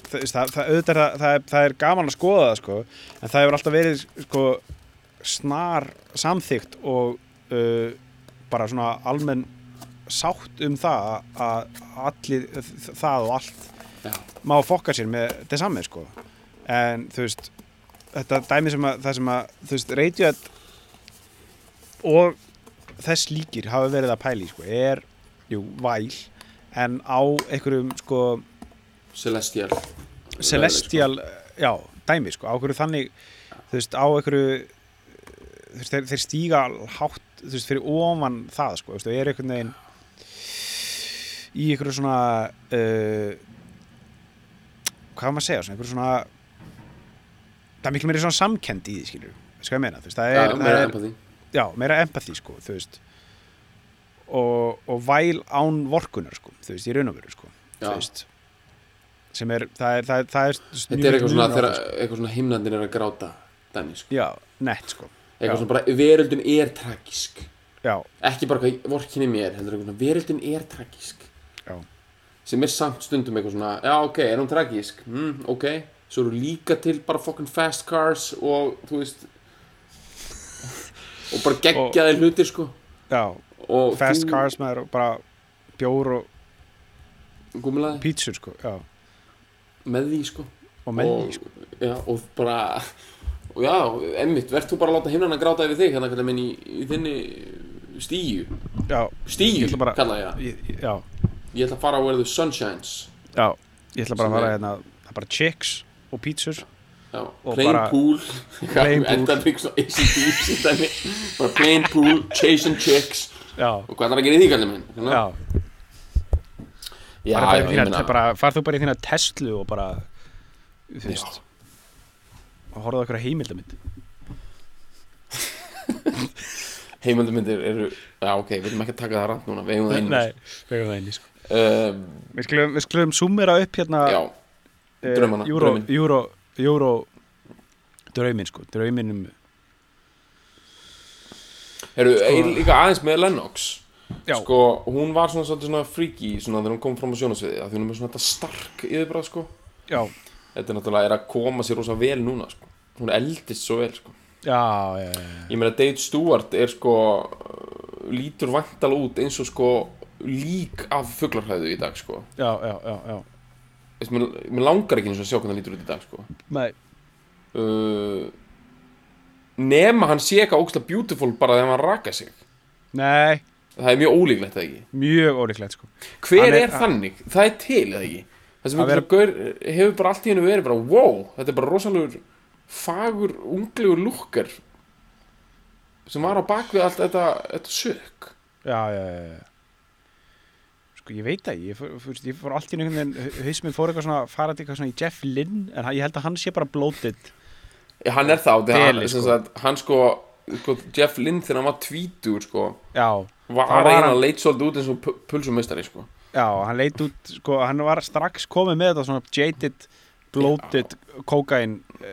[SPEAKER 1] Þú veist, það, það, auðvitað er, það, það, er, það er gaman að skoða það sko en það hefur alltaf verið sko snar samþygt og uh, bara svona almenn sátt um það að allir það og allt
[SPEAKER 2] Já.
[SPEAKER 1] má fokka sér með þetta saman sko en þú veist þetta dæmi sem að það sem að þú veist Radiohead og þess líkir hafa verið að pæli sko er jú væl en á einhverjum sko
[SPEAKER 2] Celestial.
[SPEAKER 1] celestial, já, dæmi sko, á hverju þannig, þú veist, á einhverju þú veist, þeir, þeir stíga hátt, þú veist, fyrir ofan það sko, þú veist, og er einhvern veginn í einhverju svona uh, hvað á maður að segja, svona einhverju svona það er miklu meiri svona samkend í því, skilju sko ég meina, þú veist, það
[SPEAKER 2] Já,
[SPEAKER 1] er,
[SPEAKER 2] meira
[SPEAKER 1] það er
[SPEAKER 2] empathy.
[SPEAKER 1] já, meira empathy, sko, þú veist og, og væl án vorkunar, sko, þú veist, í raun og veru, sko
[SPEAKER 2] Já.
[SPEAKER 1] þú veist sem er, það er, það er, það er
[SPEAKER 2] Þetta er eitthvað svona, þegar eitthvað svona himnandin er að gráta dæmi, sko.
[SPEAKER 1] sko. já, nett sko Já.
[SPEAKER 2] Eitthvað svona bara, veröldin er tragísk.
[SPEAKER 1] já,
[SPEAKER 2] ekki bara hvað vorkinni mér heldur einhvern veginn, veröldin er tragísk
[SPEAKER 1] já,
[SPEAKER 2] sem er samt stundum eitthvað svona já ok, er hún tragísk, mm, ok svo eru líka til bara fucking fast cars og þú veist og bara geggjaði hlutir sko
[SPEAKER 1] já
[SPEAKER 2] og
[SPEAKER 1] fast
[SPEAKER 2] þú,
[SPEAKER 1] cars maður og bara bjór og
[SPEAKER 2] gúmulaði,
[SPEAKER 1] pítsur sko já,
[SPEAKER 2] með því sko
[SPEAKER 1] og menni sko
[SPEAKER 2] já, og bara og já, emmitt, verð þú bara að láta himnana gráta yfir þig hérna kallar minn í, í þinni stíu,
[SPEAKER 1] já, Ég
[SPEAKER 2] stíu
[SPEAKER 1] ætla bara-
[SPEAKER 2] kalla ég það
[SPEAKER 1] ég, ég- já,
[SPEAKER 2] ég ætla að fara where the sun shines
[SPEAKER 1] já ég ætla bara
[SPEAKER 2] Sem
[SPEAKER 1] að fara
[SPEAKER 2] er-
[SPEAKER 1] hérna það er bara chicks og pítsur
[SPEAKER 2] Já,
[SPEAKER 1] Og
[SPEAKER 2] plain
[SPEAKER 1] bara-
[SPEAKER 2] pool
[SPEAKER 1] Plain pool.
[SPEAKER 2] Enda líka svona ACDC dæmi Bara plain pool, chasing chicks
[SPEAKER 1] já,
[SPEAKER 2] Og hvað er að gera í því kallum minn? Hérna?
[SPEAKER 1] já,
[SPEAKER 2] já,
[SPEAKER 1] bara,
[SPEAKER 2] já,
[SPEAKER 1] já
[SPEAKER 2] ég
[SPEAKER 1] þína,
[SPEAKER 2] meina-
[SPEAKER 1] bara far þú bara í þína Tesla og bara þú veist og horfðu okkur að heimildamind
[SPEAKER 2] Heimildamyndir eru Já, ok, við erum ekki að taka það rand núna Við eigum það einu
[SPEAKER 1] vegum það einnig sko
[SPEAKER 2] um,
[SPEAKER 1] við skulum, við skulum summera upp hérna
[SPEAKER 2] Já,
[SPEAKER 1] eh,
[SPEAKER 2] draumana,
[SPEAKER 1] Euro,
[SPEAKER 2] drauminn.
[SPEAKER 1] Euro, Euro draumin sko, draumin um
[SPEAKER 2] Heru, sko, líka aðeins með Lennox
[SPEAKER 1] Já.
[SPEAKER 2] sko, hún var svona svolítið svona freaky svona þegar hún kom fram á sjónasviði af því hún er með svona þetta stark yfirbráð sko
[SPEAKER 1] já,
[SPEAKER 2] þetta er náttúrulega er að koma sér rosa vel núna sko. hún eldist svo vel sko.
[SPEAKER 1] já, já, já.
[SPEAKER 2] ég meina Dave Stewart er sko uh, lítur vantal út eins og sko lík af fuglarhæðu í dag sko
[SPEAKER 1] já, já, já, já.
[SPEAKER 2] Þess, mér, mér langar ekki eins og að sjá hvernig hann lítur út í dag sko
[SPEAKER 1] Nei,
[SPEAKER 2] uh, nema hann sé eitthvað ógstlega beautiful bara þegar hann raka sig
[SPEAKER 1] nei,
[SPEAKER 2] það er mjög ólíklegt eða ekki
[SPEAKER 1] mjög ólíklegt sko
[SPEAKER 2] Hver
[SPEAKER 1] Hann
[SPEAKER 2] er,
[SPEAKER 1] er- hann-
[SPEAKER 2] þannig? Það er til eða ekki? Það sem
[SPEAKER 1] Að
[SPEAKER 2] einhver gaur hefur bara allt í hennu verið bara wow, þetta er bara rosalegur fagur, unglegur lukkar sem var á bakvið allt þetta, þetta sök
[SPEAKER 1] já, já, já, já. Sko, ég veit það, ég fór, fyrst, ég fór allt í einhvern veginn, hau- haus minn fór eitthvað svona, farandi eitthvað svona í Jeff Lynn, en hann- ég held að hann sé bara blótið.
[SPEAKER 2] Já, hann er það, þegar hann,
[SPEAKER 1] Deli,
[SPEAKER 2] sko.
[SPEAKER 1] sko.
[SPEAKER 2] Sagt, hann sko, sko Jeff Lynn þegar hann var tvítur sko,
[SPEAKER 1] Já,
[SPEAKER 2] var
[SPEAKER 1] Það var
[SPEAKER 2] eiginlega
[SPEAKER 1] hann-
[SPEAKER 2] leit svolítið út eins og pu- pulsumistari sko.
[SPEAKER 1] já, hann leit út, sko, hann var strax komið með þetta svona jaded, blótið, kókain uh,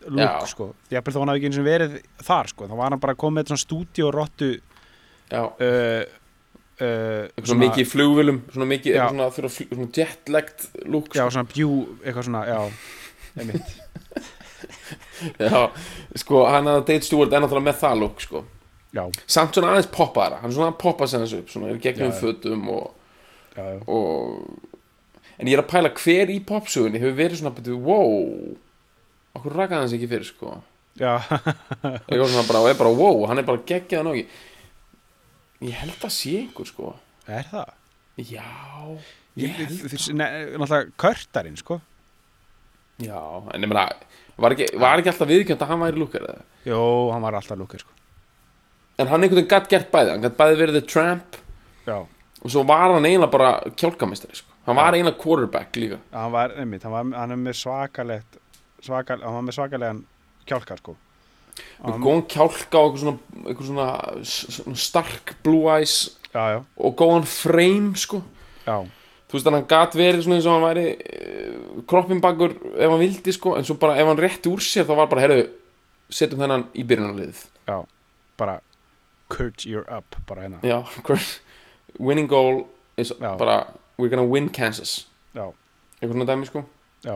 [SPEAKER 2] Já.
[SPEAKER 1] look, sko. Ég held að hann hafði ekki eins og verið þar, sko, þá var hann bara komið með þetta svona stúdíorottu,
[SPEAKER 2] Já,
[SPEAKER 1] uh, uh,
[SPEAKER 2] eitthvað svona mikið í flugvillum svona mikið,
[SPEAKER 1] Já.
[SPEAKER 2] eitthvað svona, þurfa að flug- svona sko. jetlegt lúk
[SPEAKER 1] já, svona bjú, eitthvað svona, já, einmitt.
[SPEAKER 2] Já, sko, hann að Date Stewart er náttúrulega með það lúk sko.
[SPEAKER 1] Já,
[SPEAKER 2] samt svona aðeins poppaðara hann svona poppað sér hans upp svona er
[SPEAKER 1] Já,
[SPEAKER 2] gegnum
[SPEAKER 1] já.
[SPEAKER 2] fötum og,
[SPEAKER 1] já, já.
[SPEAKER 2] og en ég er að pæla hver í popsugunni hefur verið svona betur wow okkur rakaði hans ekki fyrir sko
[SPEAKER 1] Já,
[SPEAKER 2] eitthvað svona bara og er bara wow hann er bara geggjað nógi ég held að sé einhver sko
[SPEAKER 1] er það?
[SPEAKER 2] já ég
[SPEAKER 1] Ég,
[SPEAKER 2] held
[SPEAKER 1] þess, ne, náttúrulega körtarinn sko
[SPEAKER 2] já en ég meina var ekki, var ekki alltaf viðkjönd að hann væri lúkar eða
[SPEAKER 1] Jó, hann var alltaf lúkir sko
[SPEAKER 2] en hann einhvern veginn gætt gert bæði hann gætt bæði verið the tramp
[SPEAKER 1] Já,
[SPEAKER 2] og svo var hann eiginlega bara kjálkamistari sko hann var eiginlega quarterback líka
[SPEAKER 1] hann var, einmitt, hann, var, hann er með svakalegt svakal, hann var með svakalegan kjálka sko
[SPEAKER 2] með
[SPEAKER 1] Hann-
[SPEAKER 2] góðan kjálka og eitthvað svona, eitthvað svona, s- svona stark blue eyes
[SPEAKER 1] Já, já,
[SPEAKER 2] og góðan frame sko
[SPEAKER 1] já,
[SPEAKER 2] þú veist að hann gat verið svona eins og hann væri uh, kroppin bakur ef hann vildi sko en svo bara ef hann rétti úr sér þá var bara herru setjum þennan í byrjunarlið
[SPEAKER 1] já bara Kurt, you're up, bara hérna
[SPEAKER 2] já, hver- winning goal is
[SPEAKER 1] Já.
[SPEAKER 2] bara we're gonna win Kansas
[SPEAKER 1] Já,
[SPEAKER 2] eitthvað svona dæmi sko
[SPEAKER 1] já,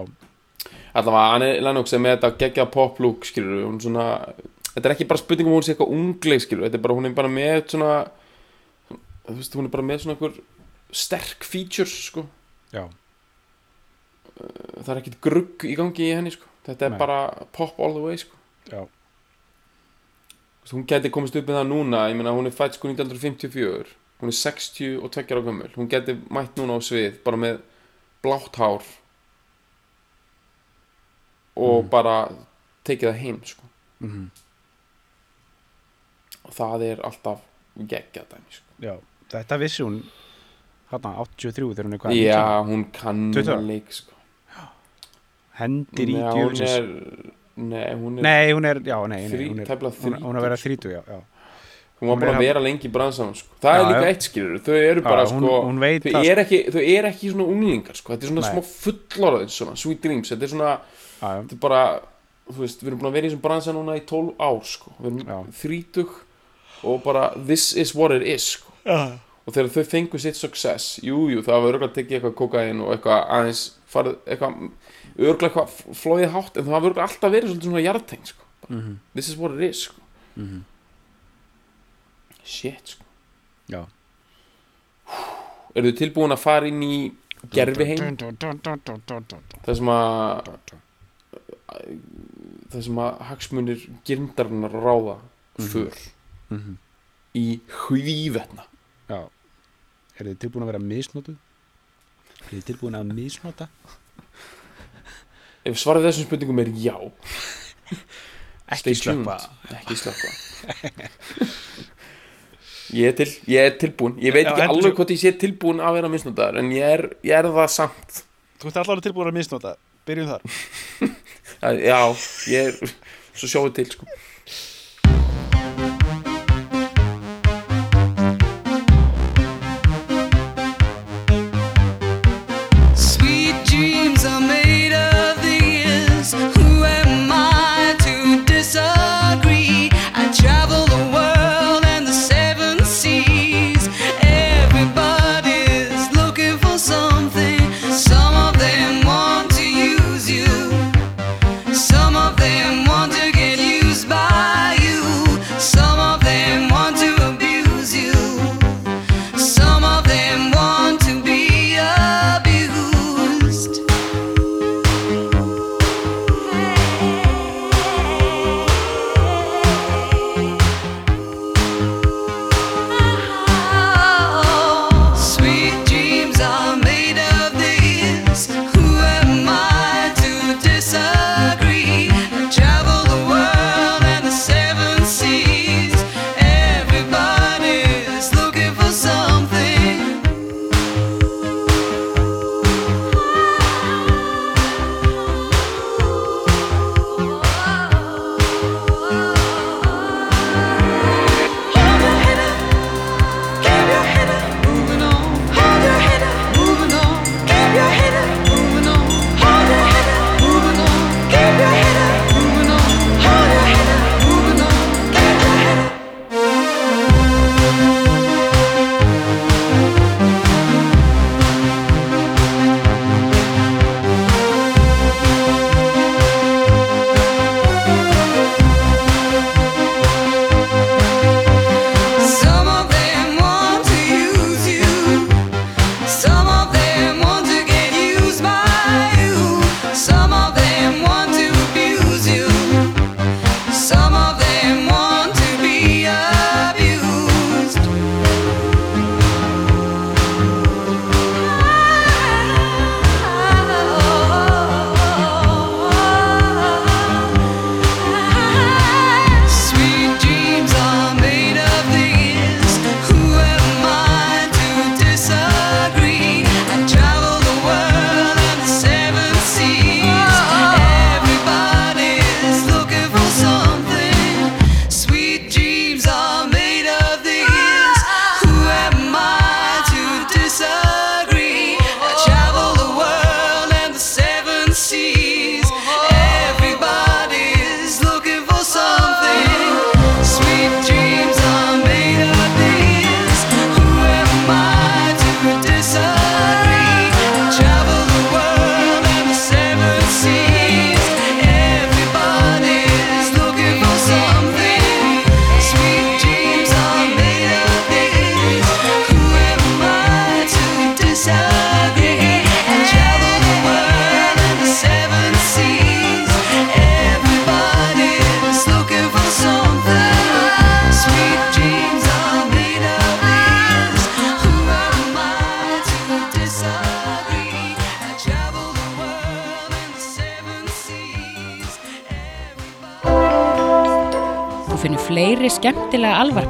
[SPEAKER 2] allavega hann er Lennox er með þetta geggja pop look skilur hún svona þetta er ekki bara spurning um að hún sé eitthvað ungleg skilur þetta er bara hún er bara með svona þú veist hún er bara með svona einhver sterk features sko
[SPEAKER 1] já,
[SPEAKER 2] það er ekkit grugg í gangi í henni sko þetta er
[SPEAKER 1] Nei.
[SPEAKER 2] bara pop all the way sko
[SPEAKER 1] já
[SPEAKER 2] Þú veist, hún geti komist upp með það núna ég meina hún er fætt sko 1954 hún er 60 og 20 ára gömul hún geti mætt núna á svið bara með blátt hár og bara tekið það heim sko
[SPEAKER 1] mm
[SPEAKER 2] og það er alltaf geggjað dæmi sko.
[SPEAKER 1] Já, þetta vissi hún hérna 83 þegar hún er hvað
[SPEAKER 2] já, hún kann
[SPEAKER 1] 20 ára?
[SPEAKER 2] leik sko.
[SPEAKER 1] Hendir í
[SPEAKER 2] Nei, hún
[SPEAKER 1] djöfisins
[SPEAKER 2] er nei, hún er
[SPEAKER 1] Nei, hún er, já, nei, nei
[SPEAKER 2] Þrí-
[SPEAKER 1] hún, er,
[SPEAKER 2] tæplega
[SPEAKER 1] hún, hún er að vera
[SPEAKER 2] 30,
[SPEAKER 1] 30, já, já
[SPEAKER 2] hún var
[SPEAKER 1] hún
[SPEAKER 2] bara
[SPEAKER 1] er
[SPEAKER 2] að
[SPEAKER 1] að-
[SPEAKER 2] vera lengi í bransanum sko. það
[SPEAKER 1] Já,
[SPEAKER 2] er líka
[SPEAKER 1] já.
[SPEAKER 2] eitt skilur þau eru bara
[SPEAKER 1] Já, hún,
[SPEAKER 2] sko,
[SPEAKER 1] hún veit
[SPEAKER 2] þau,
[SPEAKER 1] það,
[SPEAKER 2] er ekki, þau er ekki svona unglingar sko. þetta er svona
[SPEAKER 1] Nei.
[SPEAKER 2] smá fullorðins svona, sweet dreams þetta er svona,
[SPEAKER 1] sko. Já, já.
[SPEAKER 2] þetta er bara þú veist, við erum búin að vera í þessum bransan núna í 12 ár sko. við erum
[SPEAKER 1] Já.
[SPEAKER 2] 30 og bara this is what it is sko.
[SPEAKER 1] Já.
[SPEAKER 2] og þegar þau fengu sitt success jújú, jú, það var örgulega að tekið eitthvað kokain og eitthvað aðeins farið eitthvað örgulega eitthvað flóið hátt en það var örgulega alltaf verið svolítið svona jarteng sko.
[SPEAKER 1] Mhm.
[SPEAKER 2] this is what it is sko.
[SPEAKER 1] Mhm.
[SPEAKER 2] shit sko.
[SPEAKER 1] Já.
[SPEAKER 2] eru þau tilbúin að fara inn í gerfi heim það sem að það sem að hagsmunir gerindarinnar ráða
[SPEAKER 1] Mhm.
[SPEAKER 2] för
[SPEAKER 1] Mhm.
[SPEAKER 2] í hvívetna
[SPEAKER 1] Já Er þið tilbúin að vera misnotuð? Er þið tilbúin að misnota?
[SPEAKER 2] ef svarið þessum spurningum er já Stay tuned. ekki slökka ég er til, ég er tilbúin ég veit
[SPEAKER 1] Já,
[SPEAKER 2] ekki
[SPEAKER 1] heldur
[SPEAKER 2] alveg
[SPEAKER 1] þú-
[SPEAKER 2] hvort ég sé tilbúin að vera misnútaðar en ég er, ég er það samt
[SPEAKER 1] Þú ert allavega tilbúin að misnota Byrjum þar
[SPEAKER 2] Það- já, ég er svo sjáum við til sko.
[SPEAKER 3] Sweet dreams are made of these. Who am I to Ah, ah,
[SPEAKER 4] og finnum fleiri skemmtilega